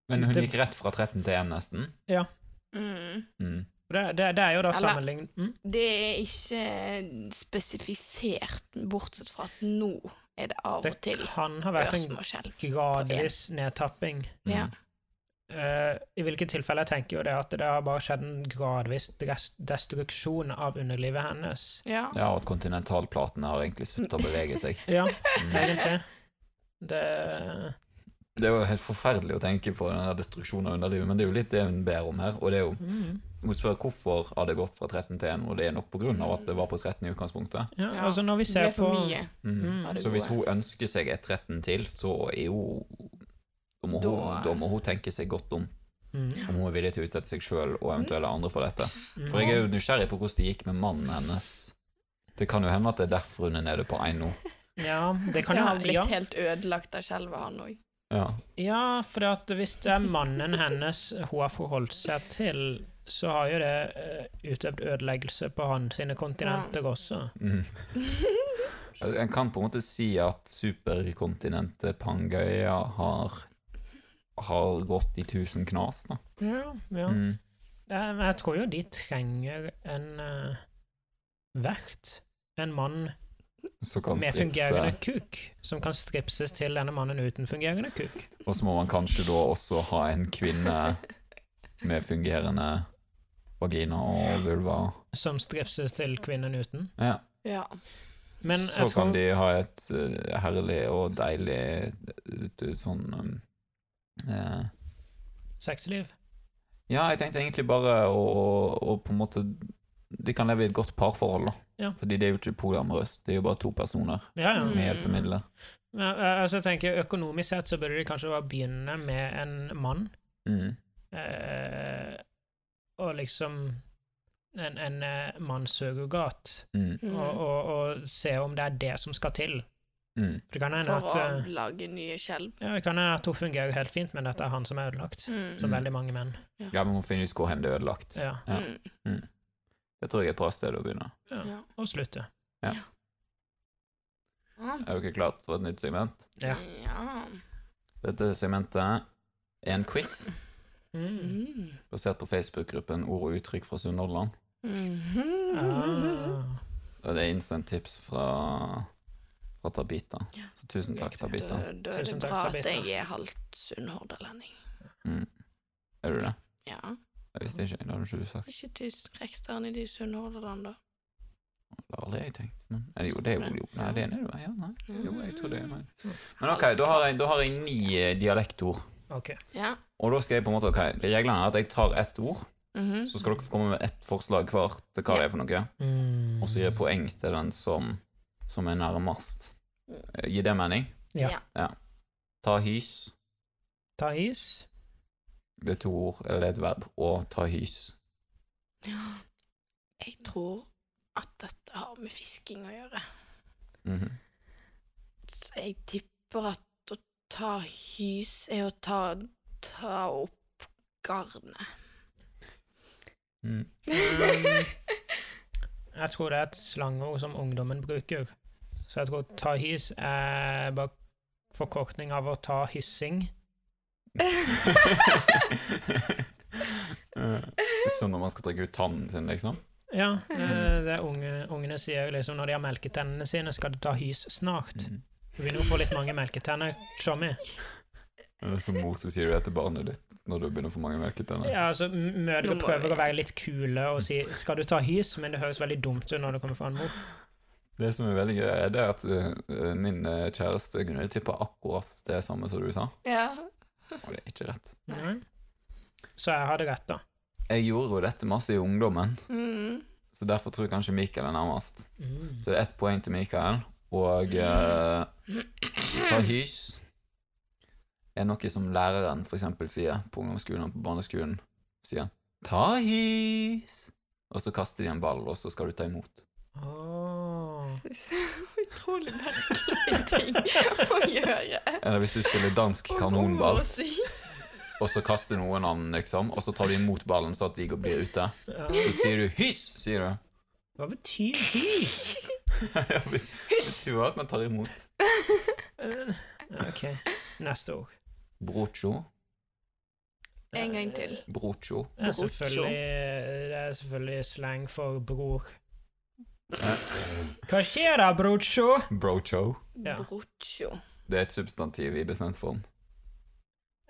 A: Men hun
C: Det-
A: gikk rett fra 13 til 1, nesten.
B: Mm.
A: Mm.
C: det, det, det er jo da
B: Eller-
C: sammenlignet mm?
B: Det er ikke spesifisert, bortsett fra at nå er det av
C: Det
B: og til
C: kan ha vært en
B: ørsmåskjelv.
C: gradvis nedtapping.
A: Mm.
B: Ja.
C: Eh, I hvilke tilfeller tenker jo det at det har bare skjedd en gradvis dres- destruksjon av underlivet hennes.
B: Ja.
A: Ja, og at kontinentalplatene har egentlig sluttet å bevege seg.
C: Ja,
A: Mm.
B: [laughs]
C: egentlig. Det
A: Det er jo helt forferdelig å tenke på den der destruksjonen av underlivet, men det er jo litt det hun ber om her. Og det er jo,
C: mm.
A: hun spør hvorfor har det gått fra 13 til 1, og det er nok på grunn av at det var på 13 i utgangspunktet.
C: ja,
B: Ja,
C: altså når vi
B: Det
C: ser
B: ble for
C: på
B: mye.
A: Mm.
C: Mm.
B: av det
A: Så hvis
B: gode.
A: hun ønsker seg et 13 til, så er jo da må, hun,
B: Da-
A: da må hun tenke seg godt om
C: Mm.
A: om hun er villig til å utsette seg sjøl og eventuelle andre for dette. For jeg er jo nysgjerrig på hvordan det gikk med mannen hennes. Det kan jo hende at det er derfor hun er nede på 1 nå.
C: Ja, det kan
B: det
C: jo
B: har blitt
C: ja.
B: helt ødelagt av skjelvet, han òg.
A: Ja.
C: ja, for at hvis det er mannen hennes hun har forholdt seg til, så har jo det eh, utøvd ødeleggelse på han sine kontinenter også.
A: Mm. En kan på en måte si at superkontinentet Pangaea har har gått i tusen knas, da.
C: Ja, ja.
A: Mm.
C: Det er- men Jeg tror jo de trenger en eh, vert. En mann
A: Så kan
C: med
A: stripse.
C: fungerende kuk, som kan stripses til denne mannen uten fungerende kuk.
A: Og så må man kanskje da også ha en kvinne med fungerende vagina og vulva.
C: Som stripses til kvinnen uten.
A: Ja.
B: [laughs] Ja.
C: Men
A: så
C: jeg
A: kan
C: tror
A: de ha et eh, herlig og deilig eh, sånn eh, eh,
C: sexliv
A: Ja, jeg tenkte egentlig bare å, å, å på en måte De kan leve i et godt parforhold, da.
C: Ja.
A: Fordi det er jo ikke polyamorøst. Det er jo bare to personer
C: Ja, ja.
A: med
B: Mm.
A: hjelpemidler.
C: Men jeg- jeg- altså, jeg tenker Økonomisk sett så burde de kanskje bare begynne med en mann,
A: Mm.
C: eh, og liksom en, en eh, mannssurrogat,
A: Mm.
B: Mm.
C: og, og, og se om det er det som skal til.
A: Mm.
C: For det kan hende
B: For
C: at
B: å
C: eh,
B: lage nye skjelv.
C: Ja, det kan hende at hun fungerer helt fint, men dette er han som er ødelagt.
B: Mm.
C: Som veldig mange menn.
A: Ja, vi må finne ut hvor hen det er ødelagt.
C: Ja,
A: Ja.
B: Mm.
A: Det tror jeg er et bra sted å begynne.
B: Ja.
C: Og slutte.
B: Ja.
A: Er dere klart for et nytt segment?
C: Ja.
B: Ja.
A: Dette segmentet er en quiz
C: Mm.
B: Mm.
A: basert på Facebook-gruppen Ord og uttrykk fra Sunnhordland.
C: Ah.
A: Og Det er innsendt tips fra, fra Tabita. Så tusen takk, Tabita.
B: Mm-hmm. Da, da er det
C: Tusen takk,
B: bra at
C: Tabitha.
B: jeg er halvt sunnhordalending.
A: Mm. Er du det?
B: Ja.
A: Jeg visste ikke, det hadde ikke du sagt.
B: Er ikke tysk reksterne de i Sunnhordland, da?
A: Det har aldri jeg tenkt. Men, eller jo, det er jo, jo Nei, det er det du er. Ja, nei. Jo, jeg tror det er meg.
C: Mm.
B: Mm-hmm.
A: Men ok, da har jeg, da har jeg ni eh, dialektord.
C: Ok.
B: Ja.
A: Og da skal jeg på en måte, ok, reglene er at jeg tar ett ord,
B: Mhm.
A: så skal dere få komme med ett forslag hver til hva det er for noe,
C: Mm.
A: og så gir jeg poeng til den som, som er nærmest. Eh, Gir det mening?
C: Ja.
B: Ja.
A: Ta hys,
C: Ta is.
A: det er to ord, eller det er et verb, og ta hys.
B: Jeg tror at dette har med fisking å gjøre.
A: Mhm.
B: Så jeg tipper at å ta hys er å ta, ta opp garnet.
A: mm.
C: Jeg tror det er et slangord som ungdommen bruker. Så jeg tror ta hys er bare forkortning av å ta hyssing.
A: Som Eh, når man skal trekke ut tannen sin, liksom.
C: Ja,
B: Mm.
C: eh, det er unge, ungene sier jo liksom når de har melketennene sine, skal du ta hys snart. Du vil jo få litt mange melketenner, Tommy.
A: Eller Som mor Eh, så sier du det til barnet ditt når du begynner å få mange melketenner.
C: Ja, altså, m- mødre
B: Nå må
C: prøver
B: vi-
C: å være litt kule og si 'skal du ta hys', men det høres veldig dumt ut når det kommer fra en mor.
A: Det som er veldig gøy, er det at eh, min eh, kjæreste Gunhild tippa akkurat det samme som du sa.
B: Ja.
A: Og det er ikke rett.
C: Nei. Så jeg hadde rett, da.
A: Jeg gjorde jo dette masse i ungdommen,
B: Mm.
A: så derfor tror jeg kanskje Mikael er nærmest. Så det er ett poeng til Mikael, og eh, ta hys er noe som læreren for eksempel sier på ungdomsskolen og på barneskolen. Sier ta hys, og så kaster de en ball, og så skal du ta imot.
C: Mm. Åh.
B: Utrolig merkelig ting å gjøre.
A: [laughs] Eller hvis du spiller dansk
B: Og om
A: kanonball.
B: å si.
A: og så kaster noen av den, liksom, og så tar du imot ballen så at de går- blir ute.
C: Ja.
A: Så sier du 'hys', sier du.
C: Hva betyr hys?
A: [laughs] Ja, vi- Det var at man tar imot.
C: Eh, OK, neste ord.
A: Brocho.
B: [laughs] En gang til.
A: Brocho.
C: Det er
B: Bror,
C: selvfølgelig, det er selvfølgelig slang for bror. Hva skjer da, brocho?
A: Brocho.
C: Ja.
B: Brocho.
A: Det er et substantiv i bestemt form.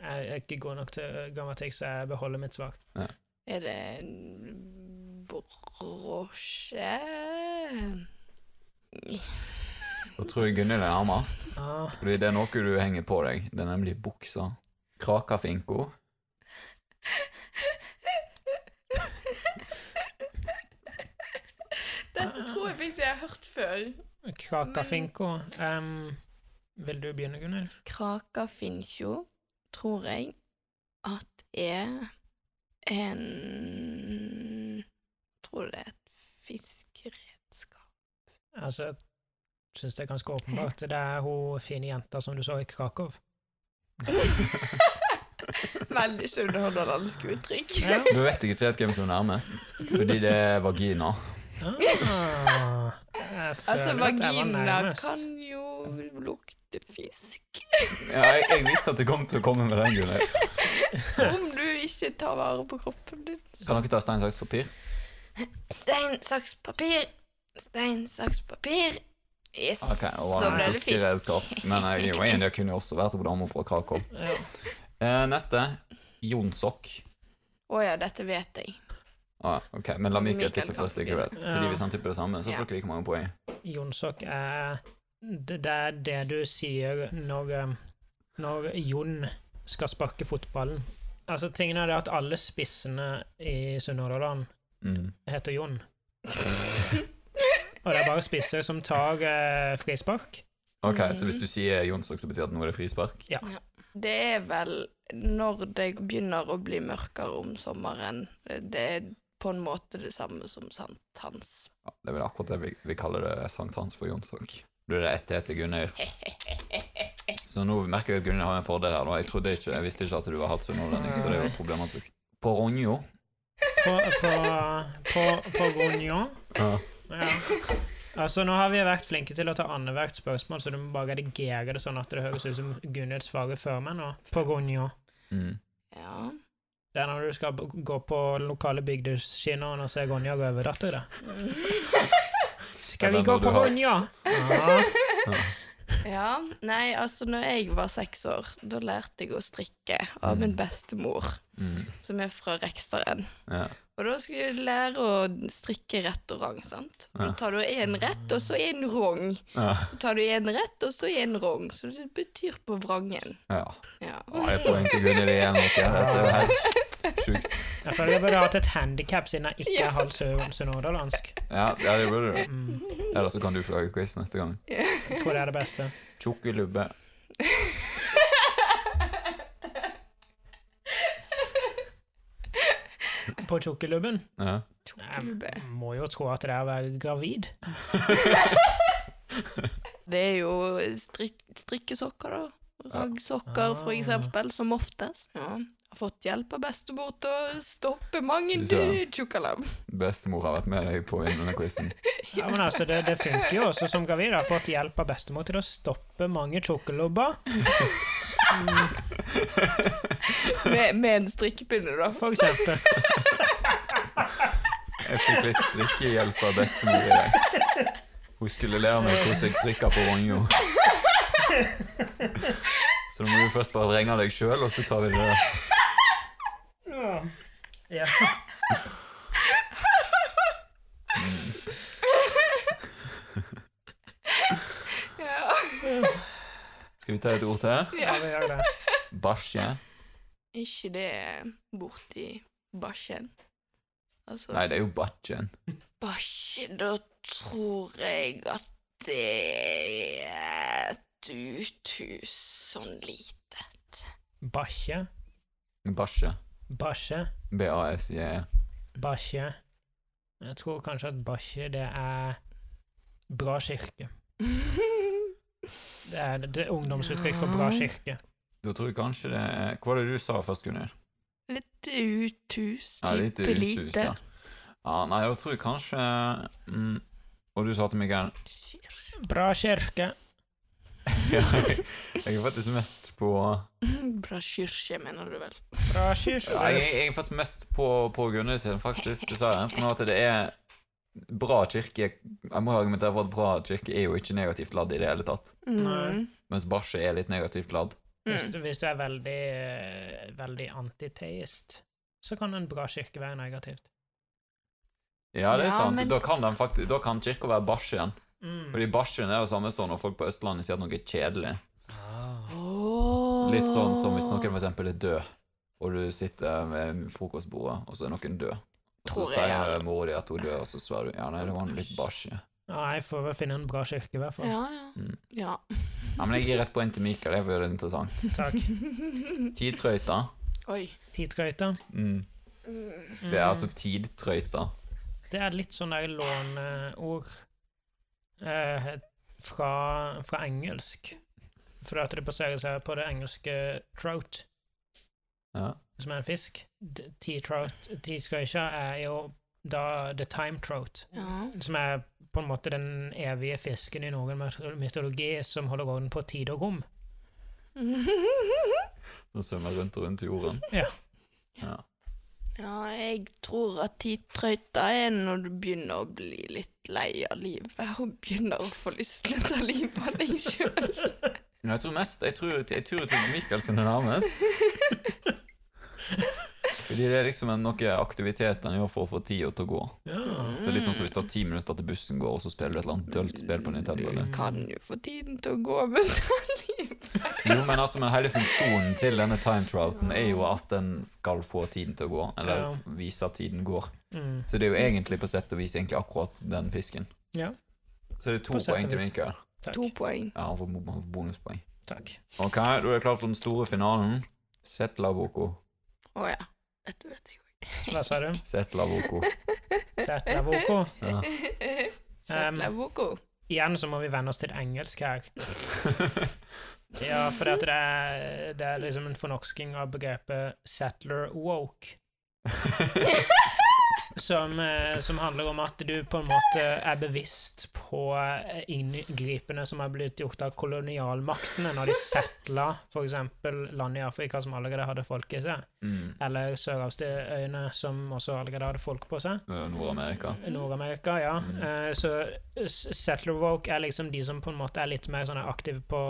C: Jeg er ikke god nok til grammatikk, så jeg beholder mitt svar.
B: Er det en brosje [laughs]
A: Da tror jeg Gunnhild er nærmest.
C: Ah,
A: Fordi det er noe du henger på deg. Det er nemlig buksa. Krakafinko. [laughs]
B: Dette tror jeg faktisk jeg har hørt før.
C: Krakafinko. Em, vil du begynne, Gunnhild?
B: Kraka Finnsjo tror jeg at er en Tror det er et fiskeredskap.
C: Altså, jeg syns det er ganske åpenbart. Det er hun fine jenta som du så i Krakow.
B: [laughs] Veldig sunnhordlandsk uttrykk.
C: Ja.
A: Du vet ikke helt hvem som er nærmest, fordi det er vagina.
C: Ah, jeg
B: Altså,
C: føler at jeg var
B: vagina
C: nærmest.
B: kan jo lukte fisk.
A: Ja, jeg, jeg visste at det kom til å komme med den. Gunnhild.
B: Om du ikke tar vare på kroppen din.
A: Kan dere ta stein, saks, papir?
B: Stein, saks, papir. Stein, saks, papir. Yes,
A: Ok, og
B: da
A: en
B: ble det fisk.
A: fiskeredskap. Men jeg, jo, en, det kunne jo også vært hun dama fra Krakow.
C: Ja.
A: Eh, neste. Jonsok.
B: Å ja, dette vet jeg.
A: Ah, ok, Men la Mikael
B: Mikael
A: tippe
B: kan
A: først
B: tippe.
A: likevel. Fordi hvis han tipper det samme, så
B: Ja.
A: får dere like mange poeng.
C: Jonsok er det, det er det du sier når, um, når Jon skal sparke fotballen. Altså, tingen er det at alle spissene i Sunnhordland
A: Mm.
C: heter Jon. Og det er bare spisser som tar eh, frispark.
A: Ok, Så hvis du sier Jonsok, så betyr det at nå er det frispark?
B: Det er vel når det begynner å bli mørkere om sommeren. Det er på en måte det samme som sankthans.
A: Ja, det er vel akkurat det vi, vi kaller det sankthans for Jonsok. Blir det ett til Gunnhild? Så nå merker jeg at Gunnhild har en fordel her. da. Jeg, trodde ikke, jeg visste ikke at du var hatt sunnhordlending, så det er jo problematisk. På Ronjo
C: På, på, på, på Ronjon.
A: ja.
C: Ja. Altså, nå har vi vært flinke til å ta annethvert spørsmål, så du må bare redigere det sånn at det høres ut som Gunnhild svarer før meg nå. På Ronjon.
A: mm.
B: Ja.
C: Det er når du skal b- gå på den lokale bygdeskinoen og se Ronja Røverdatter. da. Skal
A: Ja,
C: vi
A: den
C: gå
A: må du
C: på
A: ha. [laughs]
C: Ronja? Ja.
B: ja. Nei, altså, når jeg var seks år, da lærte jeg å strikke av min bestemor,
A: Mm.
B: som er fra Reksteren.
A: Ja.
B: Og da skulle du lære å strikke rett og rang, sant? Da
A: Ja.
B: tar du en rett, og så en rong.
A: Ja.
B: Så tar du en rett, og så en rong. Så det betyr på vrangen.
A: ja.
B: Ja.
A: Å, jeg poeng til Gunnhild igjen. Dere. Dette er jo helt sjukt.
C: Jeg føler jeg burde hatt et handikap siden jeg ikke er halv sø- sunnhordlandsk.
A: Ja, ja, det burde du.
C: Mm.
A: Eller så kan du få lage quiz neste gang.
B: [laughs]
C: Jeg tror det er det beste.
A: Tjukke lubbe.
C: På tjukkelubben.
A: Ja.
B: Tokklubbe.
C: Jeg må jo tro at det er å være gravid.
B: [laughs] Det er jo strik strikkesokker, da. Raggsokker, for
C: Ah.
B: eksempel, som oftest. Ja. Jeg har fått hjelp av bestemor til å stoppe mange
A: Du ser.
B: tjukkalam.
A: Bestemor har vært med deg på denne
C: [laughs]
A: quizen.
C: Ja, men altså, det, det funker jo også som gravid. Jeg har fått hjelp av bestemor til å stoppe mange tjukkelubber.
B: [laughs] Med, med en strikkepinne, da.
C: For eksempel.
A: Jeg fikk litt strikkehjelp av bestemor i dag. Hun skulle lære meg hvordan jeg strikker på Vangjo. Så nå må du først bare vrenge deg sjøl, og så tar vi det der.
C: Ja. Ja.
B: Ja.
A: Skal vi ta et ord til?
C: ja, vi gjør det.
A: Bæsje?
B: ikke det borti bæsjen? Altså
A: Nei, det er jo bæsjen.
B: Bæsje, da tror jeg at det er et uthus, sånn lite.
C: Bæsje,
A: Bæsje.
C: bæsje,
A: B-a-s-j-e.
C: bæsje. Jeg tror kanskje at bæsje, det er bra kirke. Det er det- det er ungdomsuttrykk for bra kirke.
A: Da tror jeg kanskje det er Hva var det du sa først, Gunnhild?
B: [laughs] Litt uthus,
A: Ja,
B: type
A: litt uthus,
B: lite.
A: ja. ja. Ah, Nei, jeg tror jeg kanskje mm, Og du sa til Mikael
C: Bra kirke.
A: [laughs] ja, Jeg jeg er faktisk mest på
B: [laughs] Bra kirke, mener du vel?
A: ja,
C: Bra
A: jeg,
C: kirke.
A: jeg er faktisk mest på, på Gunnhild sin, faktisk, dessverre. På grunn av at det er bra kirke Jeg må jo argumentere for at bra kirke er jo ikke negativt ladd i det hele tatt.
B: Mm.
C: Nei.
A: Mens bæsje er litt negativt ladd.
C: Hvis, du- hvis du er veldig, eh, veldig antiteist, så kan en bra kirke være negativt.
A: Ja, det er
B: Ja,
A: sant.
B: men-
A: Da kan, den faktisk, da kan kirka være bæsj igjen.
C: Mm.
A: Fordi bæsj er det samme som når folk på Østlandet sier at noe er kjedelig.
C: Ah.
B: Åh.
A: Litt sånn som hvis noen for eksempel er død, og du sitter ved frokostbordet, og så er noen død. Og så
B: Tror jeg, ja.
A: sier mora di at hun dør, og så svarer du ja, nei, det var en litt bæsj. Ja,
C: Ja, jeg får vel finne en bra kirke, i hvert fall.
B: Ja, ja.
A: Mm.
B: ja.
A: Ja, men jeg gir rett poeng til Mikael, det var jo interessant.
C: Takk.
A: Tidtrøyta.
B: [laughs] Oi.
C: Tidtrøyta.
A: Mm.
B: Mm.
A: Det er altså tidtrøyta.
C: Det er litt sånn der låneord eh, fra, fra engelsk. For at det baserer seg på det engelske trout,
A: Ja.
C: som er en fisk. D- T-trout T-skrøysja er jo da the time trout,
B: Ja.
C: som er på en måte den evige fisken i norrøn myt- mytologi som holder orden på tid og rom.
A: Den svømmer rundt og rundt i
C: [laughs]
A: jorden.
B: ja, jeg tror at tidtrøyta er når du begynner å bli litt lei av livet og begynner å få lyst til å ta livet av deg sjøl.
A: Men jeg tror mest Jeg tror, jeg tror til Mikael sin er
C: [laughs]
A: nærmest. Fordi det er liksom en, noe aktivitet han gjør for å få tida til å gå. Det er litt
C: Mm.
A: sånn som hvis du har ti minutter til bussen går, og så spiller du et eller annet dølt spill på Nintendo.
C: Mm.
B: Du kan jo få tiden til å gå, men [laughs] ta livet
A: Jo, men altså, men hele funksjonen til denne time trouten er jo at den skal få tiden til å gå, eller
C: Ja.
A: vise at tiden går.
C: Mm.
A: Så det er jo egentlig på sett og vis egentlig akkurat den fisken.
C: Ja.
A: Så det er
C: På
A: to
C: sett og
A: poeng til
C: vis.
A: Mikael.
C: Takk.
B: To poeng.
A: Ja, han får, bo- han får bonuspoeng.
C: Takk.
A: Ok, da er det klart for den store finalen. Setlaboko.
B: Å ja. Dette vet jeg
C: Hva sa du?
B: [laughs]
A: Setlaboko.
C: Setlavoko?
A: Ja.
B: òg.
C: Um,
B: Setla Boko.
C: Igjen så må vi venne oss til engelsk her. Ja, for det, er, det er liksom en fornorsking av begrepet 'settler woke', som, eh, som handler om at du på en måte er bevisst på eh, inngripene som har blitt gjort av kolonialmaktene når de settla f.eks. land i Afrika som allerede hadde folk i seg,
A: mm.
C: eller Sørhavsøyene som også allerede hadde folk på seg.
A: Det er jo Nord-Amerika.
C: Nord-Amerika, ja.
A: Mm.
C: Eh, Så s- settler woke er liksom de som på en måte er litt mer sånn aktive på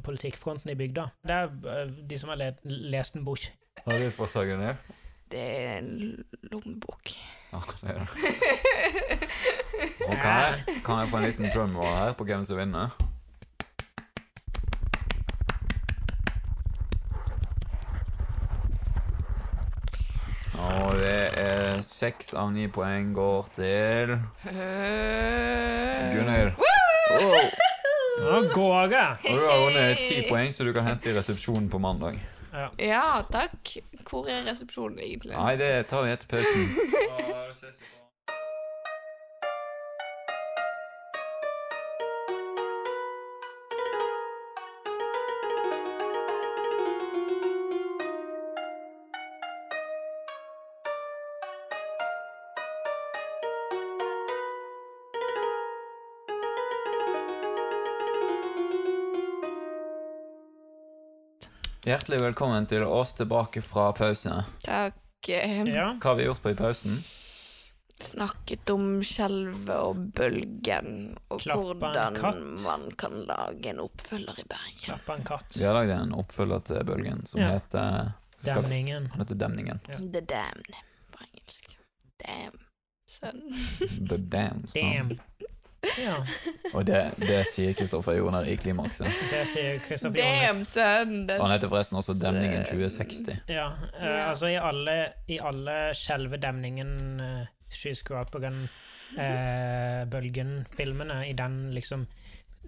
C: politikkfronten i bygda. Det er eh, de som har le lest en bok.
A: Har du et forslag, Gunnhild?
B: Det er en lommebok.
A: Ja, det er det. Ok, kan jeg få en liten drumroll her på hvem som vinner? Og det er seks av ni poeng går til Gunnhild. Wow.
C: Av gårde!
A: Og du har vunnet ti poeng, så du kan hente i resepsjonen på mandag.
C: Ja.
B: [laughs] Ja, takk. Hvor er resepsjonen egentlig?
A: Nei, det tar vi etter pausen. Hjertelig velkommen til oss tilbake fra pause.
B: Takk. eh,
C: ja.
A: Hva har vi gjort på i pausen?
B: Snakket om skjelvet og bølgen, og
C: Klappa en katt.
B: hvordan man kan lage en oppfølger i Bergen.
C: Klappa en katt.
A: Vi har lagd en oppfølger til Bølgen som
C: Ja.
A: heter, Skal-
C: Demningen.
A: den heter Demningen.
C: Ja.
B: The Damn på engelsk. Damn. Sønn.
A: The Dam. sa han.
C: Damn. Ja,
B: [laughs]
A: Og det, det sier Kristoffer Joner i Klimakset.
C: det sier Kristoffer Joner.
B: Damn, sønn!
A: Og han heter forresten også Demningen 2060.
C: Ja, eh, altså i alle, i alle selve demningen, eh, skyskraperen, eh, bølgen, filmene, i den liksom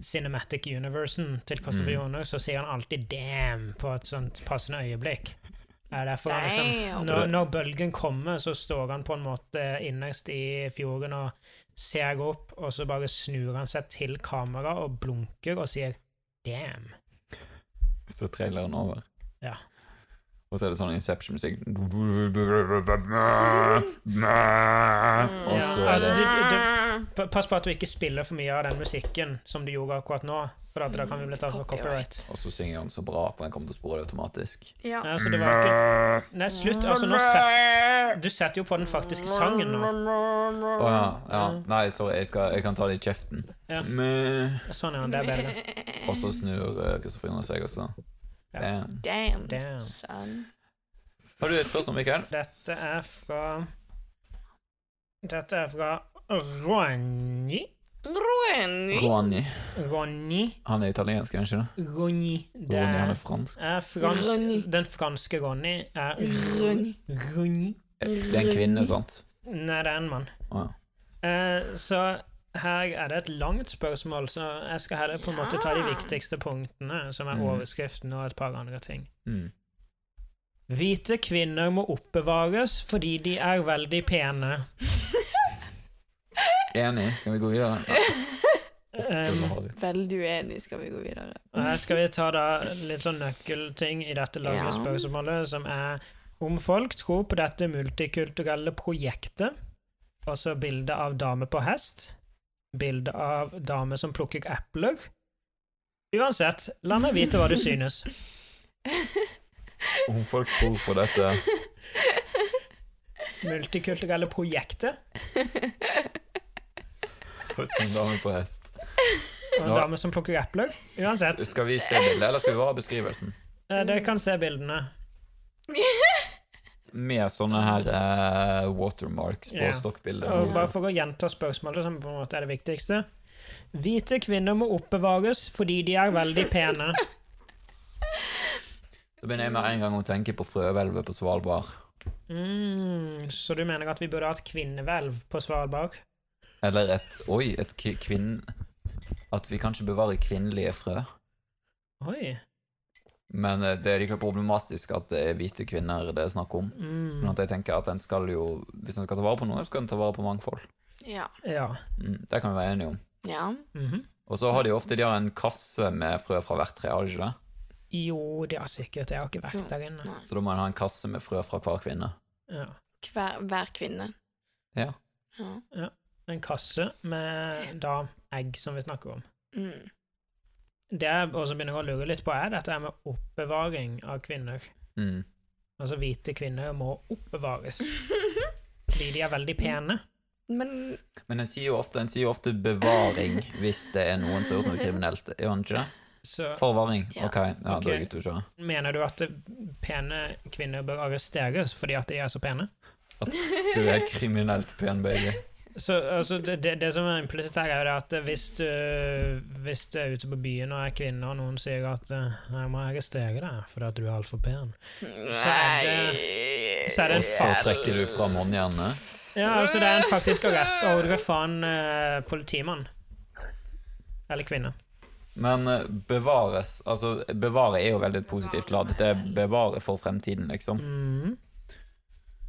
C: cinematic universen til Christopher
A: Mm.
C: Joner, så sier han alltid 'damn' på et sånt passende øyeblikk. Det er derfor han liksom,
B: Damn.
C: når, når bølgen kommer, så står han på en måte innerst i fjorden og ser opp, og så bare snur han seg til kamera og blunker og sier 'damn'.
A: så trailer den over.
C: Ja.
A: Og så er det sånn Inception-musikk Og
C: Ja,
A: så er
C: altså,
A: det
C: du- Pa- Pass på at du ikke spiller for mye av den musikken som du gjorde akkurat nå, for at da kan vi bli tatt for copyright.
A: Og så synger han så bra at han kommer til å spore det automatisk.
B: Ja.
C: Nei, altså, det var
A: Mm.
C: ikke... Nei, slutt. Altså, nå set... Du setter jo på den faktiske sangen nå.
A: Å ja, ja. Nei, sorry, jeg, skal, jeg kan ta det i kjeften.
C: Ja.
A: Mæ.
C: Sånn, ja. Det er
A: [laughs]
C: bedre.
A: Og så snur eh, Kristoffer Jonas seg også.
C: Ja.
A: Damn.
B: Damn,
C: Damn.
B: son.
A: Har du et spørsmål, Mikael?
C: Dette er fra Dette er fra Ronny.
B: Ronny.
A: Ronny.
C: Ronny.
A: Han er italiensk, er han ikke det?
C: Ronny. Det
A: Ronny, han
C: er,
A: er fransk.
C: er frans...
B: Ronny.
C: Den franske Ronny er
B: Ronny. [laughs]
C: Ronny.
A: Det er en kvinne, sant?
C: Nei, det er en mann.
A: Å ja.
C: Eh, så her er det et langt spørsmål, så jeg skal heller på en måte ta de
B: Ja.
C: viktigste punktene, som er
A: Mhm.
C: overskriften og et par andre ting.
A: Mm.
C: Hvite kvinner må oppbevares fordi de er veldig pene.
A: Enig. Skal vi gå videre?
C: Um,
B: Veldig uenig, skal vi gå videre.
C: her skal vi ta da litt sånn nøkkelting i dette lange
B: Ja.
C: spørsmålet, som er om folk tror på dette multikulturelle projektet, og så bilde av dame på hest, bilde av dame som plukker epler. Uansett, la meg vite hva du synes.
A: Om folk tror på
B: [laughs]
A: dette
C: Multikulturelle projektet,
A: hos en dame på hest
C: og en
A: Nå-
C: dame som plukker epler. Uansett,
A: S- Skal vi se bildet, eller skal vi bare ha beskrivelsen?
C: eh, dere kan se bildene.
A: Med sånne her eh, watermarks på
C: Ja. Og bare
A: stokkbildet.
C: for å gjenta spørsmålet, som på en måte er det viktigste. Hvite kvinner må oppbevares fordi de er veldig pene.
A: Da begynner jeg med en gang å tenke på frøhvelvet på Svalbard.
C: Mm, så du mener at vi burde ha et kvinnehvelv på Svalbard?
A: Eller et Oi, et ki- kvinn... At vi kanskje bevarer kvinnelige frø.
C: Oi.
A: Men eh, det er like problematisk at det er hvite kvinner det er snakk om. Men
C: Mm,
A: at jeg tenker at en skal jo, Hvis en skal ta vare på noe, så skal en ta vare på mangfold.
B: [laughs] Ja.
C: ja.
A: Mm, det kan vi være enige om.
B: ja.
C: Mhm.
A: Og så har de ofte de har en kasse med frø fra hvert tre, har de ikke det?
C: Jo, det har sikkert. Jeg har ikke vært der inne.
A: Så da må en ha en kasse med frø fra hver kvinne.
C: Ja.
B: Hver, hver kvinne.
A: Ja.
B: Ja.
C: En kasse med da egg, som vi snakker om.
B: Mm. [laughs]
C: Det jeg også begynner å lure litt på, er dette her med oppbevaring av kvinner.
A: Mm.
C: Altså, hvite kvinner må oppbevares fordi de er veldig pene.
B: Men
A: Men en sier jo ofte, en sier jo ofte 'bevaring' hvis det er noen som har gjort noe kriminelt. Gjør en ikke det?
C: Så
A: Forvaring.
B: Ja.
A: Ok, ja, da er jeg
C: Ok.
A: ute å kjøre.
C: Mener du at pene kvinner bør arresteres fordi at de er så pene?
A: Du er
B: [laughs]
A: kriminelt pen, baby.
C: Så altså, det, det, det som er implisitt her, er jo det at hvis du, hvis du er ute på byen og er kvinne, og noen sier at eh, 'jeg må arrestere deg fordi at du er altfor pen',
B: Nei
C: så er det en
A: Så trekker du fram håndjernet.
C: ja, altså det er en faktisk arrestordre fra en eh, politimann. Eller kvinne.
A: Men eh, bevares Altså, bevare er jo veldig et positivt ladd. Det er bevare for fremtiden,
B: Mm.
A: liksom.
C: Mhm.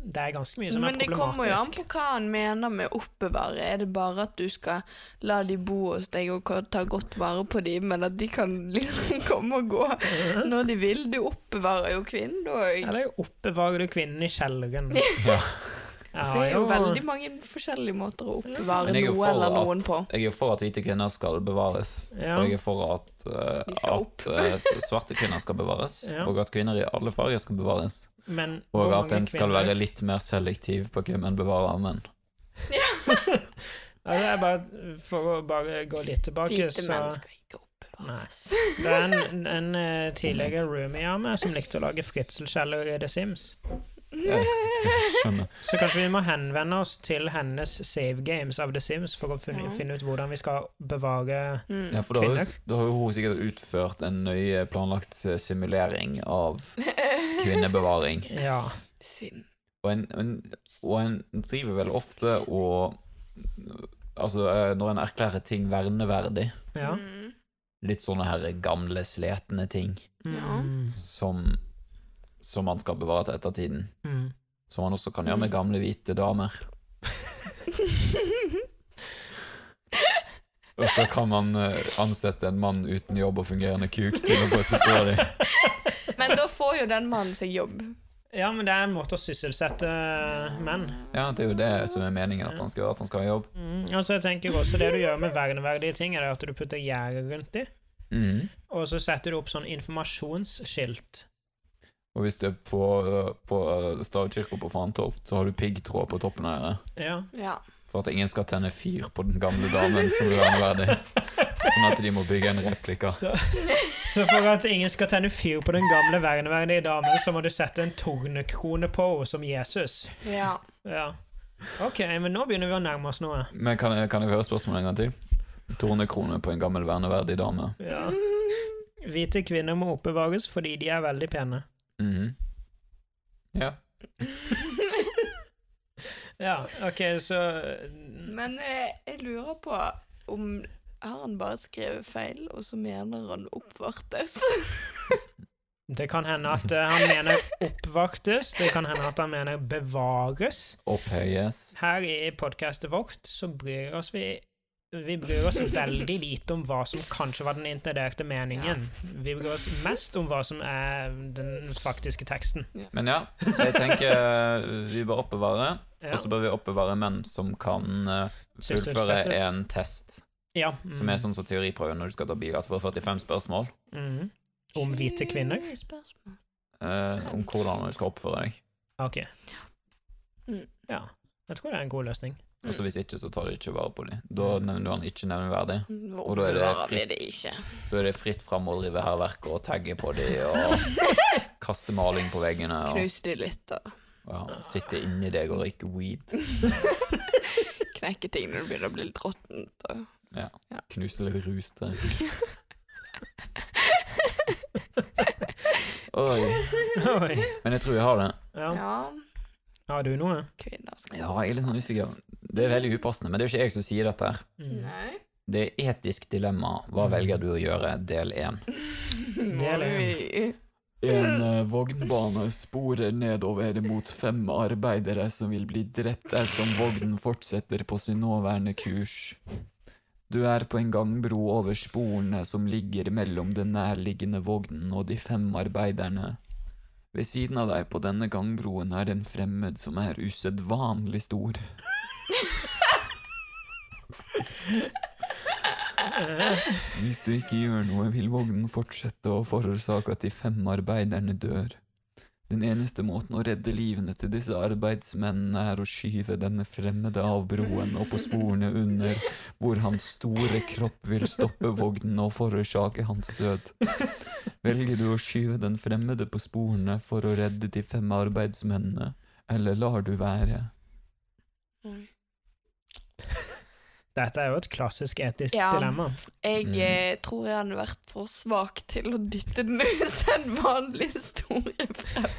C: Det er ganske mye som
B: Men
C: er
B: det kommer jo an
C: problematisk.
B: på hva han mener med oppbevare. Er det bare at du skal la de bo hos deg og ko- ta godt vare på de, men at de kan [laughs] liksom komme og
A: [laughs]
B: gå når de vil? Du oppbevarer jo kvinnen, da.
C: Eller oppbevarer du kvinnen i
B: [laughs]
C: kjelleren?
A: Ja.
C: Ja,
B: Det er jo
C: jo.
B: veldig mange forskjellige måter å oppbevare
A: Men jeg er jo
B: noe eller
A: for
B: noen på.
A: at, jeg er for at hvite kvinner skal bevares.
C: Ja.
A: Og jeg er for at, eh,
B: De skal
A: at eh, s- svarte kvinner skal bevares.
C: Ja.
A: Og at kvinner i alle farger skal bevares.
C: Men
A: Og
C: hvor
A: at
C: mange
A: en skal
C: kvinner-
A: være litt mer selektiv på hvem en bevarer menn. [laughs]
C: Ja, det er bare For å bare gå litt tilbake,
B: Hvite
C: så
B: menn skal ikke
C: Nei.
B: oppbevares.
C: [laughs] Det er en, en eh, tidligere roomie av meg som likte å lage fritzelskjeller i The Sims.
B: [laughs]
A: Ja, jeg skjønner.
C: Så kanskje vi må henvende oss til hennes save games av The Sims for å finne,
B: Ja.
C: finne ut hvordan vi skal bevare
A: Ja,
B: [laughs] Mm.
A: for da har, jo,
C: Kvinner.
A: da har jo hun sikkert utført en nøye planlagt eh, simulering av kvinnebevaring.
C: Ja.
B: Sim.
A: Og en, en, og en driver vel ofte og Altså, eh, når en erklærer ting verneverdig,
C: ja.
B: Mm.
A: litt sånne her gamle, sletne ting
B: Ja.
C: Mm.
A: som, som man skal bevare til ettertiden,
C: Mm. [laughs]
A: som man også kan gjøre med gamle, hvite damer Og så kan man eh, ansette en mann uten jobb og fungerende kuk til å passe på dem.
B: [laughs] Men da får jo den mannen seg jobb.
C: Ja, men det er en måte å sysselsette menn.
A: Ja, det er jo det som er meningen at han skal gjøre, at han skal ha jobb.
C: Mm. Og så tenker jeg også det du gjør med verneverdige ting, er at du putter gjerde rundt dem,
A: Mhm.
C: og så setter du opp sånn informasjonsskilt.
A: Og hvis du er på, eh, på eh, stavkirka på Fantoft, så har du piggtråd på toppen av øret.
C: Ja.
B: Ja.
A: For at ingen skal tenne fyr på den gamle damen som er verneverdig. Sånn at de må bygge en replika.
C: Så, [laughs] så for at ingen skal tenne fyr på den gamle verneverdige damen, så må du sette en tornekrone på henne som Jesus.
B: ja.
C: Ja. OK, men nå begynner vi å nærme oss noe.
A: Men kan jeg, kan jeg høre spørsmålet en gang til? Tornekrone på en gammel verneverdig dame.
C: Ja. Hvite kvinner må oppbevares fordi de er veldig pene.
A: Mhm. Ja.
C: Ja, OK, så
B: [laughs] Men eh, jeg lurer på om har han bare skrevet feil, og så mener han oppvartes?
C: Det kan hende at eh, han
B: [laughs]
C: mener oppvartes, det kan hende at han mener bevares.
A: Opphøyes.
C: Her i podkastet vårt så bryr oss vi vi bryr oss veldig lite om hva som kanskje var den intenderte meningen. Vi bryr oss mest om hva som er den faktiske teksten.
A: Men ja, jeg tenker eh, vi bør oppbevare.
C: [laughs] Ja.
A: Og så bør vi oppbevare menn som kan eh, fullføre
C: Sysselsettes.
A: en test,
C: ja. mm,
A: som er sånn som teoriprøve når du skal ta bil, at du får 45 spørsmål
C: Mhm. Om hvite kvinner?
B: Spørsmål.
A: eh, om hvordan du skal oppføre deg.
C: OK.
B: Mm.
C: Ja. Jeg tror det er en god
B: [laughs]
C: løsning.
A: Og så hvis ikke, så tar de ikke vare på dem. Da nevner du han ikke nevneverdig.
B: Nå
A: Og da er det
B: oppbevarer vi
A: fritt.
B: det ikke.
A: Da er det fritt fram å drive hærverk og tagge på dem og kaste maling på veggene og
B: Knuse de litt [laughs] og
A: ja, sitte inni deg og røyke weed.
B: knekke ting når det begynner å bli litt råttent. og-
A: Knuse litt ruter. Oi.
C: Oi.
A: Men jeg tror jeg har det.
C: Ja.
B: Ja,
C: Har du noe?
B: kvinner skal
A: Ja, jeg er litt sånn usikker. Det er veldig upassende, men det er jo ikke jeg som sier dette. her.
C: Mm.
B: Nei.
A: Det er etisk dilemma. Hva velger du å gjøre? Del 1.
C: er
B: Må vi
A: En eh, vognbane sporer nedover mot fem arbeidere som vil bli drept dersom vognen fortsetter på sin nåværende kurs. Du er på en gangbro over sporene som ligger mellom den nærliggende vognen og de fem arbeiderne. Ved siden av deg på denne gangbroen er det en fremmed som er usedvanlig stor. Hvis du ikke gjør noe, vil vognen fortsette å forårsake at de fem arbeiderne dør. Den eneste måten å redde livene til disse arbeidsmennene er å skyve denne fremmede av broen og på sporene under, hvor hans store kropp vil stoppe vognen og forårsake hans død. Velger du å skyve den fremmede på sporene for å redde de fem arbeidsmennene, eller lar du være?
C: [laughs]
B: Mm.
C: Dette er jo et klassisk etisk
B: Ja.
C: dilemma.
B: Jeg
A: Mm.
B: eh, tror jeg hadde vært for svak til å dytte den [laughs] usedvanlig store frem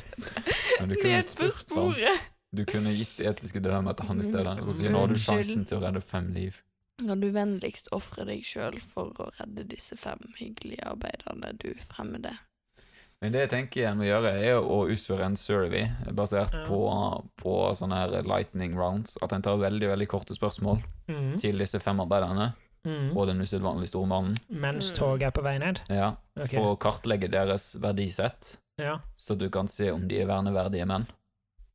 B: ned på sporet.
A: Du kunne gitt det etiske dilemmaet til han i stedet. Du kunne si, Nå har du sjansen til å redde fem liv.
B: Kan du vennligst ofre deg sjøl for å redde disse fem hyggelige arbeiderne du fremmede?
A: Men det jeg tenker en må gjøre, er å utføre en survey basert
C: Ja.
A: på, på sånne her lightning rounds. At en tar veldig veldig korte spørsmål
C: Mhm.
A: til disse fem arbeiderne
C: Mhm.
A: og den usedvanlig store mannen.
C: Mens
B: Mm.
C: toget er på vei ned?
A: Ja,
C: Ok.
A: For å kartlegge deres verdisett,
C: Ja.
A: så du kan se om de er verneverdige menn.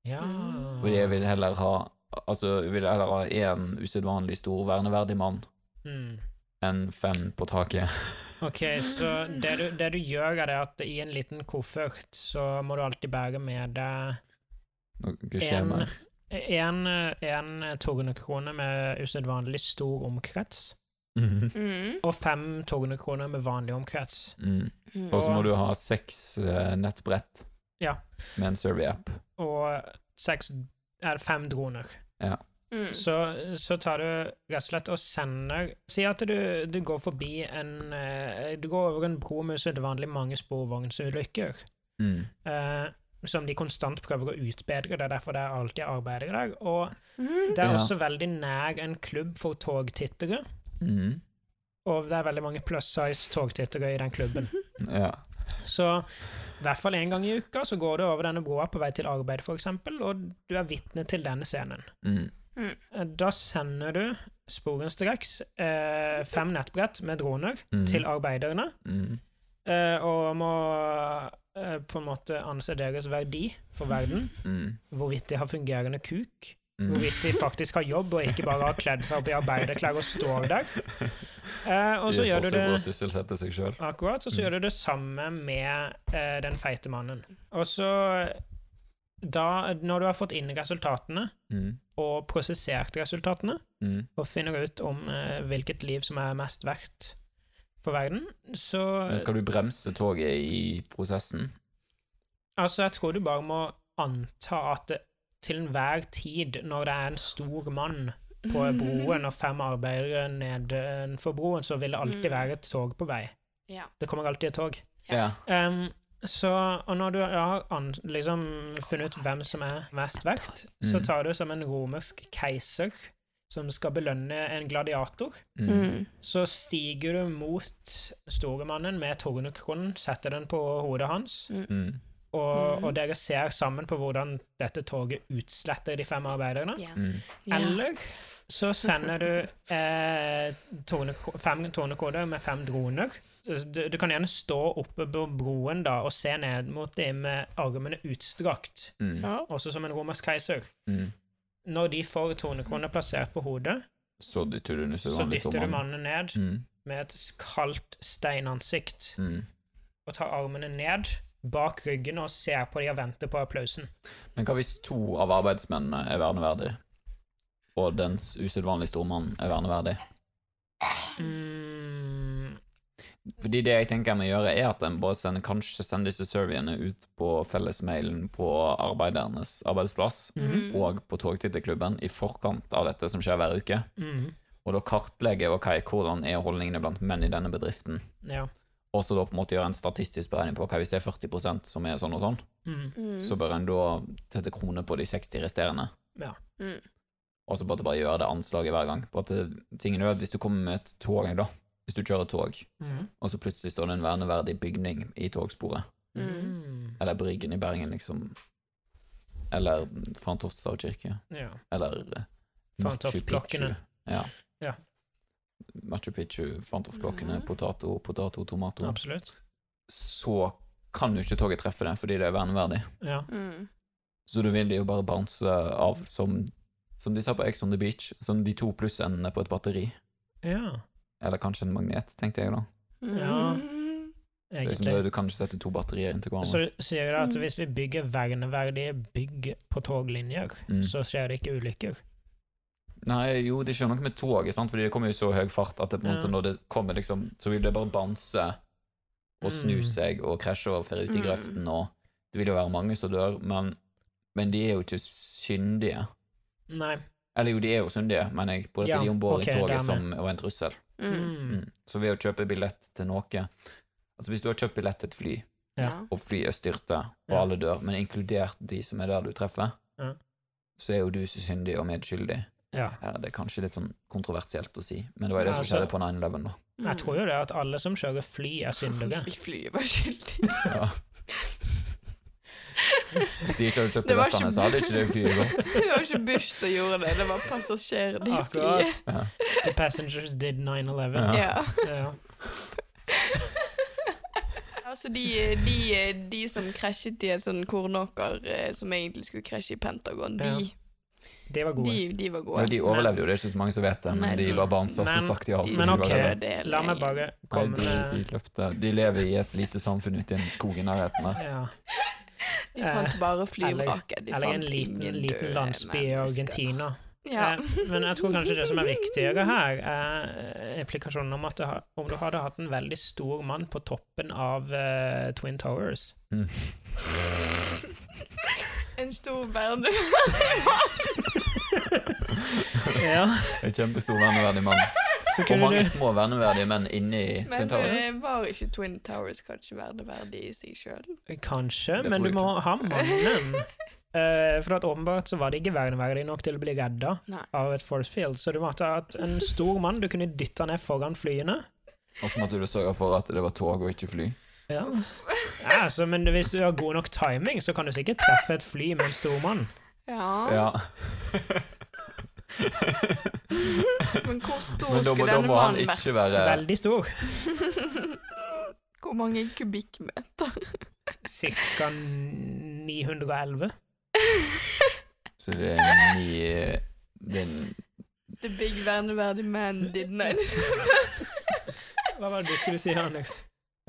C: ja.
B: Mm.
A: For jeg vil heller ha Altså, jeg vil heller ha én usedvanlig stor verneverdig mann
C: Mm.
A: enn fem på taket. [laughs]
C: Ok, så det du, det du gjør, er det at i en liten koffert så må du alltid bære med deg
A: Noe
C: en,
A: skjemaer.
C: en, en tornekroner med usedvanlig stor omkrets,
A: Mhm.
B: Mm.
C: og fem tornekroner med vanlig omkrets.
A: Mm.
B: Mm.
A: Og så må du ha seks eh, nettbrett
C: Ja.
A: med en survey-app.
C: Og seks er det fem droner.
B: Mm.
C: Så, så tar du rett og slett og sender Si at du, du går forbi en eh, Du går over en bro med usedvanlig mange sporvognsulykker.
A: Mm.
C: eh, som de konstant prøver å utbedre. Det er derfor det er alltid arbeider i dag. Og
B: Mm.
C: det er
A: Ja.
C: også veldig nær en klubb for togtittere.
A: Mm.
C: Og det er veldig mange plus size togtittere i den
B: [laughs]
C: klubben.
A: Ja.
C: Så i hvert fall én gang i uka så går du over denne broa på vei til arbeid, f.eks., og du er vitne til denne scenen.
A: Mm.
C: Eh, Da sender du sporenstreks eh, fem nettbrett med droner
A: Mm.
C: til arbeiderne,
A: Mm.
C: eh, og må eh, på en måte anse deres verdi for
B: [laughs]
C: verden.
A: Mm.
C: Hvorvidt de har fungerende kuk,
A: Mm.
C: hvorvidt de faktisk har jobb og ikke bare har kledd seg opp i arbeiderklær og står der. Eh, og så
A: De
C: gjør du
A: forsøker
C: det
A: å sysselsette seg sjøl.
C: Akkurat. Og så
A: Mm.
C: gjør du det samme med eh, den feite mannen. Og så da, når du har fått inn resultatene,
A: Mm.
C: og prosessert resultatene,
A: Mm.
C: og finner ut om eh, hvilket liv som er mest verdt for verden, så
A: Men skal du bremse toget i prosessen?
C: Altså, jeg tror du bare må anta at det, til enhver tid, når det er en stor mann
B: [laughs]
C: på
B: Mm.
C: broen og fem arbeidere nedenfor broen, så vil det alltid
B: Mm.
C: være et tog på vei.
B: Ja.
C: Det kommer alltid et tog.
B: Ja.
A: Ja.
C: Ehm, så, og når du har an, liksom funnet ut hvem som er mest verdt, så
A: Mm.
C: tar du som en romersk keiser som skal belønne en gladiator,
A: Mm.
B: Mm.
C: så stiger du mot storemannen med tornekronen, setter den på hodet hans,
A: Mm.
C: og,
B: Mhm.
C: og dere ser sammen på hvordan dette toget utsletter de fem arbeiderne.
B: Ja.
A: Mm.
B: Ja.
C: Eller så sender du eh, tornekro- fem tornekoder med fem droner. Du, du kan gjerne stå oppe på broen da og se ned mot dem med armene utstrakt,
A: Mm.
B: Ja.
C: også som en romersk keiser.
A: Mm.
C: Når de får tornekroner plassert på hodet,
A: Så dytter du den
C: så
A: usedvanlig
C: dytter
A: store
C: du
A: mannen.
C: mannen ned
A: Mm.
C: med et kaldt steinansikt
A: Mm.
C: og tar armene ned bak ryggen og ser på de og venter på applausen.
A: Men hva hvis to av arbeidsmennene er verneverdige, og dens usedvanlig store mann er verneverdig?
C: Mm,
A: Fordi det jeg tenker jeg må gjøre, er at en bare sender, kanskje sender disse surveyene ut på fellesmailen på arbeidernes arbeidsplass,
B: Mm.
C: mhm,
A: og på togtitterklubben i forkant av dette som skjer hver uke.
C: mhm,
A: Og da kartlegger ok, hvordan er holdningene blant menn i denne bedriften,
C: ja.
A: og så da på en måte gjøre en statistisk beregning på ok, hvis det er 40 som er sånn og sånn,
C: mhm.
B: Mm.
A: så bør en da sette kroner på de 60 resterende.
C: Ja.
B: Mm.
A: Og så bare, bare gjøre det anslaget hver gang. På at eh, tingen er at Hvis du kommer med et tog, da, hvis du kjører tog,
C: Mhm.
A: og så plutselig står det en verneverdig bygning i togsporet,
C: Mm.
A: eller Bryggen i Bergen, liksom, eller Fantoftstad kirke,
C: Ja.
A: eller eh, Machu Picchu.
C: Fantoftblokkene.
A: Ja.
C: Ja. Mm.
A: Machu Picchu, Fantoftblokkene,
B: Mhm.
A: potato, potato, tomato.
C: Absolutt.
A: Så kan jo ikke toget treffe det, fordi det er verneverdig.
C: Ja.
B: Mm.
A: Så da vil de jo bare bounce av som, som de sa på Ex on the Beach, som de to plussendene på et batteri.
C: ja.
A: Eller kanskje en magnet, tenkte jeg da.
C: Ja.
B: Mm.
A: Det er liksom, det,
C: Egentlig.
A: du kan ikke sette to batterier inntil
C: Så
A: hverandre.
C: sier du
B: Mm.
C: at hvis vi bygger verneverdige bygg på toglinjer,
A: Mm.
C: så skjer det ikke ulykker.
A: Nei, jo, det skjer noe med toget, sant? fordi det kommer jo i så høy fart at det, på en måte
C: Ja.
A: når det kommer, liksom, så vil det bare bounce og snu
C: Mm.
A: seg og krasje og ferde ut i
B: Mm.
A: grøften, og det vil jo være mange som dør, men, men de er jo ikke syndige.
C: Nei.
A: Eller jo, de er jo syndige, men jeg, på dette
C: Ja,
A: de om bord
C: ok,
A: i toget
C: dermed.
A: som var en trussel.
B: Mm.
C: Mm.
A: Mm. Så ved å kjøpe billett til noe Altså hvis du har kjøpt billett til et fly,
C: Ja.
A: og flyet styrter, og
C: Ja.
A: alle dør, men inkludert de som er der du treffer,
C: Ja.
A: så er jo du så syndig og medskyldig.
C: Ja.
A: Ja, det er kanskje litt sånn kontroversielt å si, men det var jo det
C: Ja,
A: som
C: altså-
A: skjedde på 9-11, da.
B: Mm.
C: Jeg tror jo det at alle som kjører fly,
B: [laughs]
C: er syndere.
B: Vi flyr bare skyldig.
A: Ja. Hvis de
B: [laughs]
A: ikke hadde kjøpt
B: Det var ikke-
A: billettene, så hadde ikke det flyet gått.
B: Det var ikke Bush som gjorde det, det var passasjerer i
A: [laughs]
C: Akkurat.
B: flyet.
C: The passengers did 9-11.
A: Ja.
B: Ja. [laughs]
C: Ja.
B: Altså, de, de, de som krasjet i en sånn kornåker eh, som egentlig skulle krasje i Pentagon, de,
C: De var
B: de,
C: gode.
B: de var
A: Men
B: gode.
A: de overlevde jo, det er ikke så mange som vet det,
B: Nei,
A: men de
B: nei.
A: var barn, så så
C: Men-
A: stakk de av.
B: de
A: fordi
C: Men
A: de var
C: ok,
A: redde.
B: døde,
C: La meg bare
A: Nei,
C: komme
A: de, de
C: med
A: løpte. De lever i et lite samfunn ute i en skog i nærheten der.
C: ja.
B: De fant bare flyvraket. De
C: eh, Eller
B: fant
C: en liten,
B: ingen
C: liten
B: døde
C: landsby i
B: mennesker.
C: Argentina.
B: Ja.
C: Eh, men jeg tror kanskje det som er viktigere her, er implikasjonen om at det har, om du hadde hatt en veldig stor mann på toppen av eh, Twin Towers.
A: Mm.
B: En stor
C: [laughs]
B: bærende
C: Ja,
A: En kjempestor verneverdig mann.
C: så
A: Og
C: kunne
A: mange
C: du
A: små verneverdige menn inni
B: Men
A: Twin Towers.
B: eh, var ikke Twin Towers kanskje verneverdig i seg sjøl?
C: Kanskje,
A: Det
C: men
A: tror
C: du
A: jeg
C: må ha mannen. Eh, for at åpenbart så var det ikke verneverdig nok til å bli redda
B: Nei.
C: av et force field, så du måtte ha hatt en stor mann du kunne dytta ned foran flyene.
A: Og så måtte du sørge for at det var tog og ikke fly.
C: Ja. Ja, så, men hvis du har god nok
B: [laughs]
C: timing, så kan du sikkert treffe et fly med en stor mann.
B: Ja.
A: Ja.
B: Men hvor stor
A: Men da må,
B: skulle
A: da
B: denne
A: må han
B: mannen vært?
A: ikke være
C: Veldig stor.
B: [laughs] Hvor mange kubikkmeter?
C: Cirka 911.
A: Så det er eh, ni det er en-
B: [laughs] The big verneverdig man did not.
C: [laughs] Hva var det du skulle si, Alex?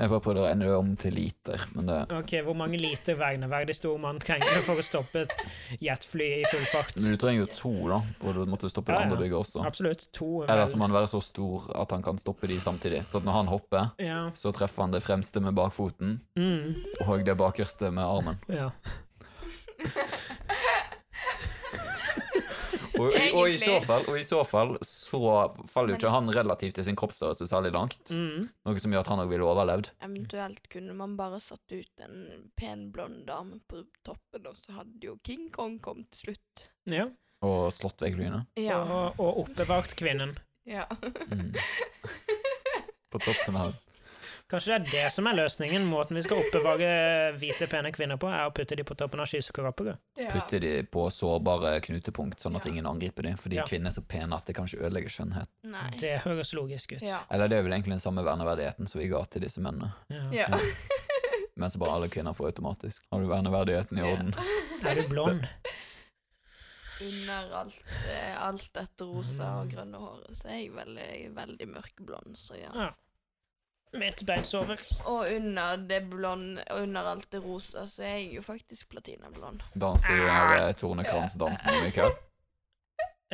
A: Jeg bare prøvde å ende det om til liter, men det
C: Ok, Hvor mange liter verneverdig stor mann trenger du for å stoppe et jetfly i full fart?
A: Men du trenger jo to, da, for du måtte stoppe det
C: Ja, ja.
A: andre bygget også.
C: Absolutt. To.
A: Eller
C: Vel.
A: så må han være så stor at han kan stoppe de samtidig. Så at når han hopper,
C: Ja.
A: så treffer han det fremste med bakfoten
C: Mm.
A: og det bakerste med armen.
C: ja.
A: Og, og, og, i,
B: Egentlig.
A: så fall, og i så fall så faller jo ikke han relativt til sin kroppsstørrelse særlig langt.
C: Mm.
A: Noe som gjør at han òg ville overlevd.
B: Eventuelt kunne man bare satt ut en pen, blond dame på toppen, og så hadde jo King Kong kommet til slutt.
C: ja.
A: Og slått vekk trynet.
B: Ja.
C: Og, og oppbevart kvinnen.
B: [laughs] ja.
A: Mm. På toppen av
C: Kanskje det er det som er løsningen? Måten vi skal oppbevare hvite, pene kvinner på, er å putte dem på toppen av skyskrapere.
A: Putte de på sårbare knutepunkt, sånn at
B: Ja.
A: ingen angriper dem. Fordi
C: Ja.
A: kvinner er så pene at det kanskje ødelegger skjønnhet.
B: Nei.
C: Det høres logisk ut.
B: Ja.
A: Eller det er vel egentlig den samme verneverdigheten som vi ga til disse mennene.
C: Ja.
B: ja.
A: Mm.
B: [laughs]
A: Men så bare alle kvinner får automatisk. Har du verneverdigheten i orden?
C: Er du blond?
B: Under alt, eh, alt dette rosa og grønne håret, så er jeg veldig, veldig mørkeblond, så ja.
C: Ja. Mitt bein sover.
B: Og under det blonde, under alt det rosa, så er jeg jo faktisk platinablond.
A: Danser du den eh, der
B: [laughs]
A: tornekransdansen i kveld?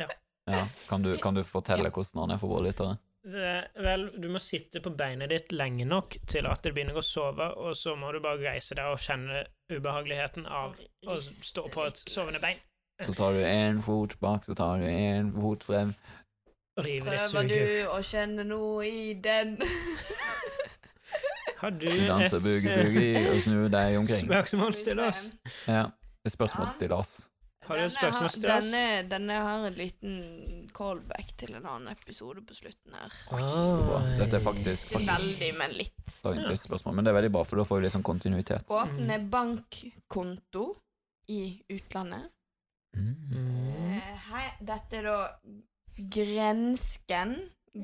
C: Ja.
A: Ja. Kan, du, kan du fortelle hvordan han er for våre lyttere?
C: Det, Eh, vel, du må sitte på beinet ditt lenge nok til at det begynner å sove, og så må du bare reise deg og kjenne ubehageligheten av å stå på et sovende bein.
A: Så tar du én fot bak, så tar du én fot frem.
C: Og rive ditt
B: Prøver
C: suger.
B: du å kjenne noe i
C: [laughs]
B: den?
C: Har
A: Du
C: du et
A: danser boogie-boogie og snur deg
C: eh,
A: omkring.
C: spørsmål til oss?
A: Ja. Et spørsmålsstillas.
C: Har du et
B: Denne
C: spørsmål til oss?
B: Denne, denne har en liten callback til en annen episode på slutten her.
A: Så bra. Dette er faktisk,
B: Ikke
A: faktisk
B: veldig, men litt.
A: dagens siste spørsmål, men det er veldig bra, for da får vi litt sånn
C: Mm.
A: kontinuitet.
B: Åpne bankkonto i utlandet.
A: Mm.
C: Mm.
B: Eh, Hei, dette er da grensken.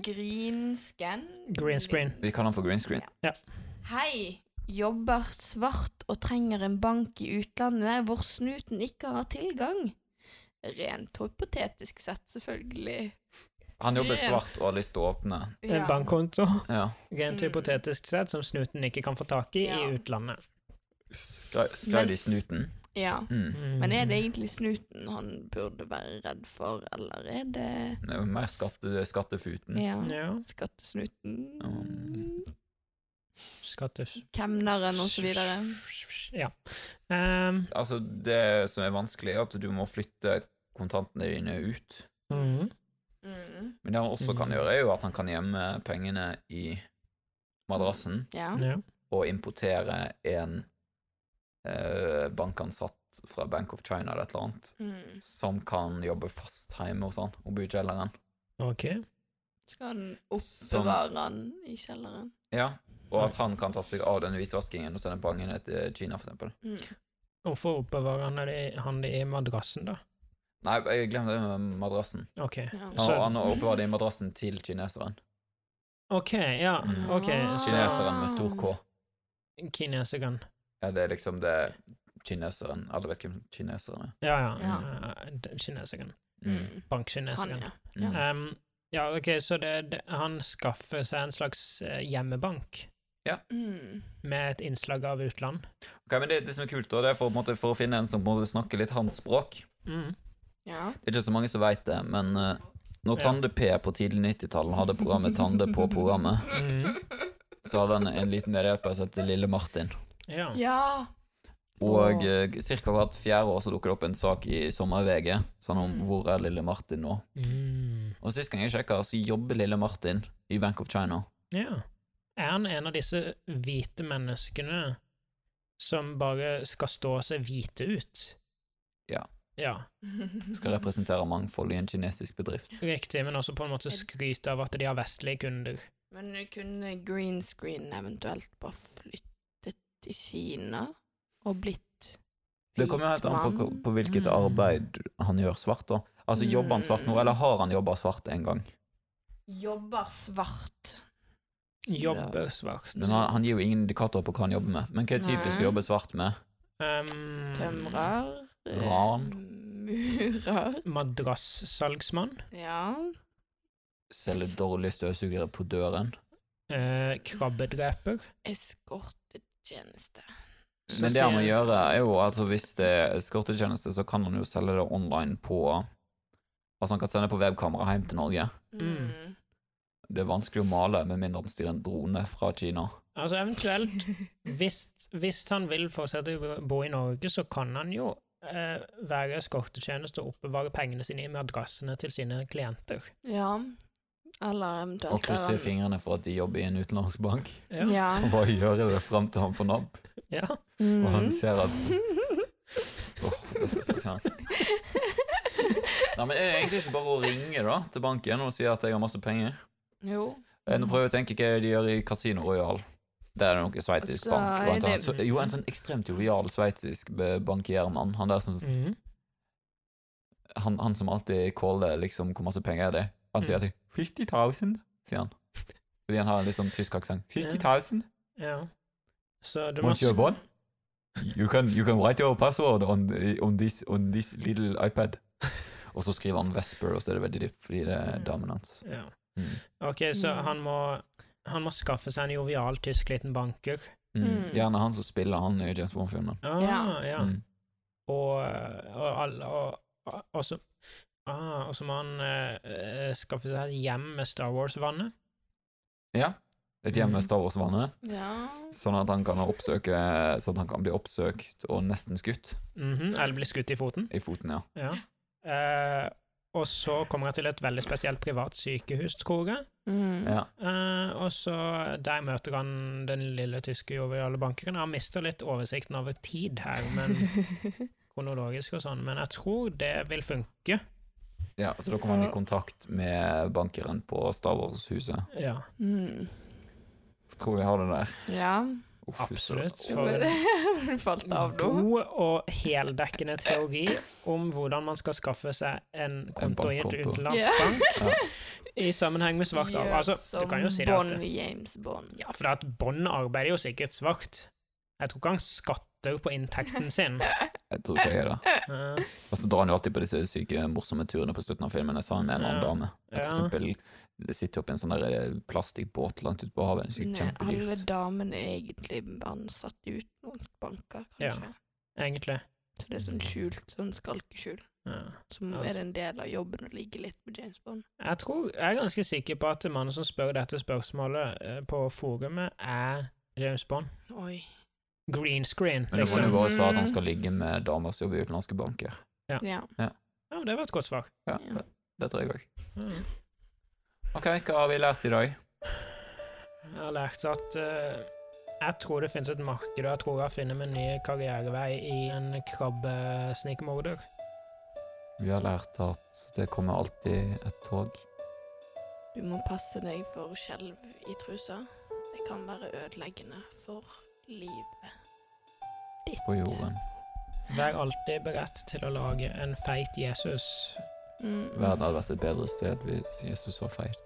B: Grinsken.
C: Green screen.
A: Vi kaller den for green screen.
B: Hei, jobber svart og trenger en bank i utlandet hvor snuten ikke har tilgang. Rent hypotetisk sett, selvfølgelig.
A: Han jobber svart og har lyst til å åpne.
C: En bankkonto,
A: Ja.
B: Mm.
C: rent hypotetisk sett, som snuten ikke kan få tak i
B: Ja.
C: i utlandet.
A: Skre- Skrev
B: Men-
A: de snuten?
B: Ja.
A: Mm.
B: Men er det egentlig snuten han burde være redd for, eller er det
A: Det er jo mer skatte, skattefuten.
B: ja,
C: Mm. Ja.
B: skattesnuten?
C: Skattefs...
B: Kemneren og så videre.
C: Ja. Um,
A: Altså, det som er vanskelig, er at du må flytte kontantene dine ut.
C: mm.
B: Mm.
A: Men det han også kan
C: Mm.
A: gjøre, er jo at han kan gjemme pengene i madrassen
B: Ja.
C: ja.
A: og importere en eh, bankansatt fra Bank of China eller et eller annet,
B: Mm.
A: som kan jobbe fast hjemme hos han og bo i kjelleren.
C: Ok.
B: Skal han
A: Som-
B: oppbevare han i kjelleren?
A: Ja, og at han kan ta seg av den hvitvaskingen og sende pengene til Kina, for eksempel.
B: Mm.
C: Hvorfor oppbevarer han det, han det i madrassen, da?
A: Nei, jeg glemte det med madrassen.
C: Ok.
B: Ja.
A: Han,
C: Så-
A: han oppbevarer det i madrassen til kineseren.
C: Ok, ja.
A: Mm.
C: Ok,
B: Ah.
C: så
A: Kineseren med stor K.
C: kineseren.
A: Ja, det er liksom det kineseren Alle vet hvem kineseren er.
C: Ja, ja.
B: Ja.
C: eh, den Kineseren.
B: Mm. Han,
C: Bankkineseren.
B: ja.
A: Mm.
C: Em, ja, ok, så det, det, han skaffer seg en slags eh, hjemmebank
B: Mm.
C: med et innslag av utland.
A: Ok, men det, det som er kult, da, det er for, på en måte, for å finne en som på en måte snakker litt hans språk.
C: Mm.
B: ja.
A: Det er ikke så mange som veit det, men eh, når
C: Ja.
A: Tande-P på tidlig 90-tallet hadde programmet Tande på programmet,
C: Mm.
A: så hadde han en liten medhjelper som het Lille Martin.
C: Ja.
B: [laughs] Ja.
A: Og uh, ca. hvert fjerde år så dukker det opp en sak i sommer-VG sånn om
B: Mm.
A: hvor er Lille Martin nå.
C: Mm.
A: Og sist gang jeg sjekka, så jobber Lille Martin i Bank of China.
C: ja. Er han en av disse hvite menneskene som bare skal stå seg hvite ut?
A: Ja.
C: Ja,
A: Skal representere mangfold i en kinesisk bedrift.
C: riktig, men også på en måte skryte av at de har vestlige kunder.
B: Men kunne green screen eventuelt bare flyttet til Kina og blitt
A: Det kommer jo helt an på,
B: hvit mann?
A: på hvilket
C: Mm.
A: arbeid han gjør svart, da. Altså, jobber han svart nå, eller har han jobba svart en gang?
B: Jobber svart.
C: Jobber svart.
A: Men han, han gir jo ingen indikator på hva han jobber med. Men hva er typisk
B: Nei.
A: å jobbe svart med?
C: Um,
B: Tømrer. eh,
A: Ran.
B: Murer.
C: Madrassalgsmann.
B: Ja.
A: Selge dårlige støvsugere på døren?
C: Eh, krabbedreper.
B: Eskortetjeneste.
A: Men det han må
C: Sosial-
A: gjøre, er jo altså hvis det er eskortetjeneste, så kan han jo selge det online på Altså han kan sende på webkamera hjem til Norge.
C: Mm.
B: Mm.
A: Det er vanskelig å male med mindre han styrer en drone fra Kina.
C: Altså
B: [laughs]
C: eventuelt, hvis, hvis han vil fortsette å bo- bo i Norge, så kan han jo eh, være eskortetjeneste og oppbevare pengene sine i madrassene til sine klienter.
B: Ja. Eller eventuelt
A: Og krysser i
B: er han-
A: fingrene for at de jobber i en utenlandsk bank. [laughs]
C: Ja.
B: Ja.
A: Og bare gjør det fram til han får napp,
C: Ja.
A: og han
B: Mhm.
A: ser
B: [laughs]
A: at Åh, dette er så fjernt. Nei, men er det egentlig ikke bare å ringe da til banken og si at jeg har masse penger?
B: Jo.
A: Eh, Nå prøver jeg å tenke hva de gjør i Casino Royal. Det er nok en sveitsisk
B: Så
A: bank.
B: er
A: blant annet.
C: Altså, det-
A: Så- Jo, en sånn ekstremt jovial sveitsisk be- bankiermann. Han der som,
C: Mhm.
A: han, han som alltid caller liksom hvor masse penger er det Han
C: Mm.
A: sier alltid 50 000, sier han. Fordi han har en litt sånn tysk aksent. 50 000?
C: ja. Så du må
A: Once you're born, you can, you can write your password on, on, this, on this little iPad. Og så skriver han Vesper, og så er det veldig dypt, fordi det er damen hans.
C: Ja.
A: Mm.
C: Ok, så
B: Mm.
C: han må, han må skaffe seg en jovial tysk liten banker.
A: Mm.
B: Mm.
A: Gjerne han som spiller han i James Bond-filmen.
C: Ah, ja.
B: Ja.
A: Mm.
C: Og, og alle og, og, og så ah, og så må han eh, eh, skaffe seg et hjem med Star Wars-vannet.
A: Ja. Et hjem
C: Mm.
A: med Star Wars-vannet.
B: Ja.
A: Sånn at han kan, oppsøke, sånn at han kan bli oppsøkt og nesten skutt
C: Mhm, Eller bli skutt i foten.
A: i foten, ja.
C: Ja. Eh, og så kommer jeg til et veldig spesielt privat sykehus, tror jeg.
B: Mm.
A: ja.
C: Eh, og så der møter han den lille tyske joviale bankeren. Han mister litt oversikten over tid her, men kronologisk og sånn. Men jeg tror det vil funke.
A: ja. Så da kommer han i kontakt med bankeren på Star Wars-huset.
C: Ja,
B: [laughs] Mm.
A: Så tror vi har det der.
B: Ja.
A: Uff,
C: absolutt.
A: så-
C: For
B: [laughs]
C: en
B: Du falt av nå.
C: god og heldekkende teori om hvordan man skal skaffe seg en konto i et
A: bankkonto.
B: Ja.
C: utenlandsk bank
A: Ja.
B: [laughs]
C: i sammenheng med svart arbeid. Altså, du kan jo si det at
B: Bond, James Bond. [laughs]
C: Ja, for at Bond arbeider jo sikkert svart. Jeg tror ikke han skatter på
B: [laughs]
C: inntekten sin.
A: Jeg tror ikke jeg er det.
C: Eh,
A: Og så drar han jo alltid på disse syke, morsomme turene på slutten av filmen. Jeg sa han med en annen
C: Ja.
A: dame. Jeg
C: Ja.
A: for eksempel sitter oppi en sånn der eh, plastikkbåt langt ute på havet. Det er
B: Nei,
A: Kjempedyr.
B: alle damene er egentlig ansatt i utenlandsbanker, kanskje.
C: egentlig.
B: Så det er sånn skjult, sånn skalkeskjul.
C: Ja.
B: Som
C: Ja,
B: er
C: så-
B: en del av jobben å ligge litt med James Bond.
C: Jeg tror, jeg er ganske sikker på at mannen som spør dette spørsmålet eh, på forumet, er James Bond.
B: Oi.
C: Green screen,
A: Men da må du
C: liksom.
A: bare svare at han skal ligge med damer som jobber i utenlandske banker.
B: Ja.
C: Ja, men det var et godt svar.
A: Ja,
B: Ja.
A: det- det tror jeg òg.
C: Ja.
A: Ok, hva har vi lært i dag?
C: Jeg har lært at eh, jeg tror det finnes et marked, og jeg tror jeg finner min nye karrierevei i en krabbesnikmorder.
A: Vi har lært at det kommer alltid et tog.
B: Du må passe deg for skjelv i trusa. Det kan være ødeleggende for livet ditt.
A: på jorden.
C: Vær alltid beredt til å lage en feit Jesus.
B: Mm.
A: Verden hadde vært et bedre sted hvis Jesus var feit.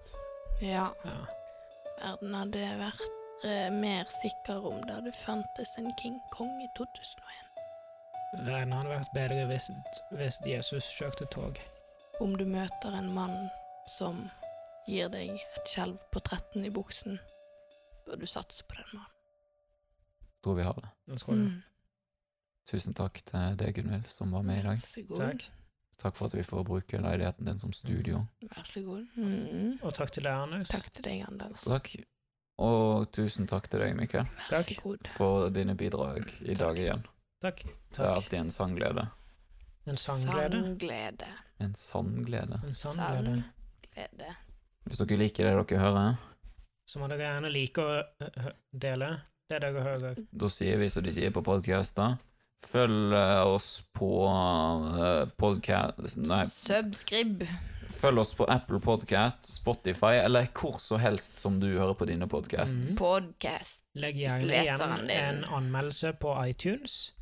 B: Ja.
C: Ja.
B: Verden hadde vært eh, mer sikker om det hadde fantes en King Kong i 2001.
C: Verden hadde vært bedre hvis, hvis Jesus kjørte tog.
B: Om du møter en mann som gir deg et skjelv på 13 i buksen, bør du satse på den mannen.
A: Tror vi har det.
C: Jeg tror
B: Mm.
C: det.
A: Tusen takk til deg, Gunhild, som var med i dag.
B: Vær så god.
C: Takk.
A: Takk for at vi får bruke leiligheten din som studio.
B: Vær så god. Mm.
C: Og takk til deg, Anders.
B: Takk til deg, Anders.
A: Takk. Og tusen takk til deg, Mikkel,
B: Vær
C: Takk.
B: så god.
A: for dine bidrag i dag igjen.
C: Takk.
A: Det er
C: takk.
A: alltid en sangglede.
C: En sangglede.
B: Sangglede.
A: En sangglede.
C: En sangglede.
B: Sangglede.
A: Hvis dere liker det dere hører,
C: Så må dere gjerne like å ø, hø- dele det dere hører.
A: da sier vi som de sier på podcaster. Følg eh, oss på eh, podcast... Nei,
B: Subscrib.
A: følg oss på Apple Podcast, Spotify, eller hvor så helst som du hører på dine
B: Mm.
A: podcasts.
C: Mhm.
B: Podcast.
C: Legg
B: Hvis
C: gjerne
B: leseren
C: igjen
B: din-
C: en anmeldelse på iTunes.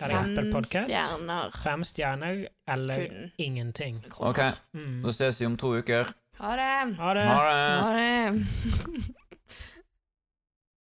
C: Eller Apple
B: Fem
C: Podcast.
B: stjerner
C: Fem stjerner eller
B: kun.
C: ingenting.
B: kroner.
A: Ok,
C: Mm.
A: da ses vi om to uker.
B: Ha det.
C: Ha det.
A: Ha det!
B: Ha det. [laughs]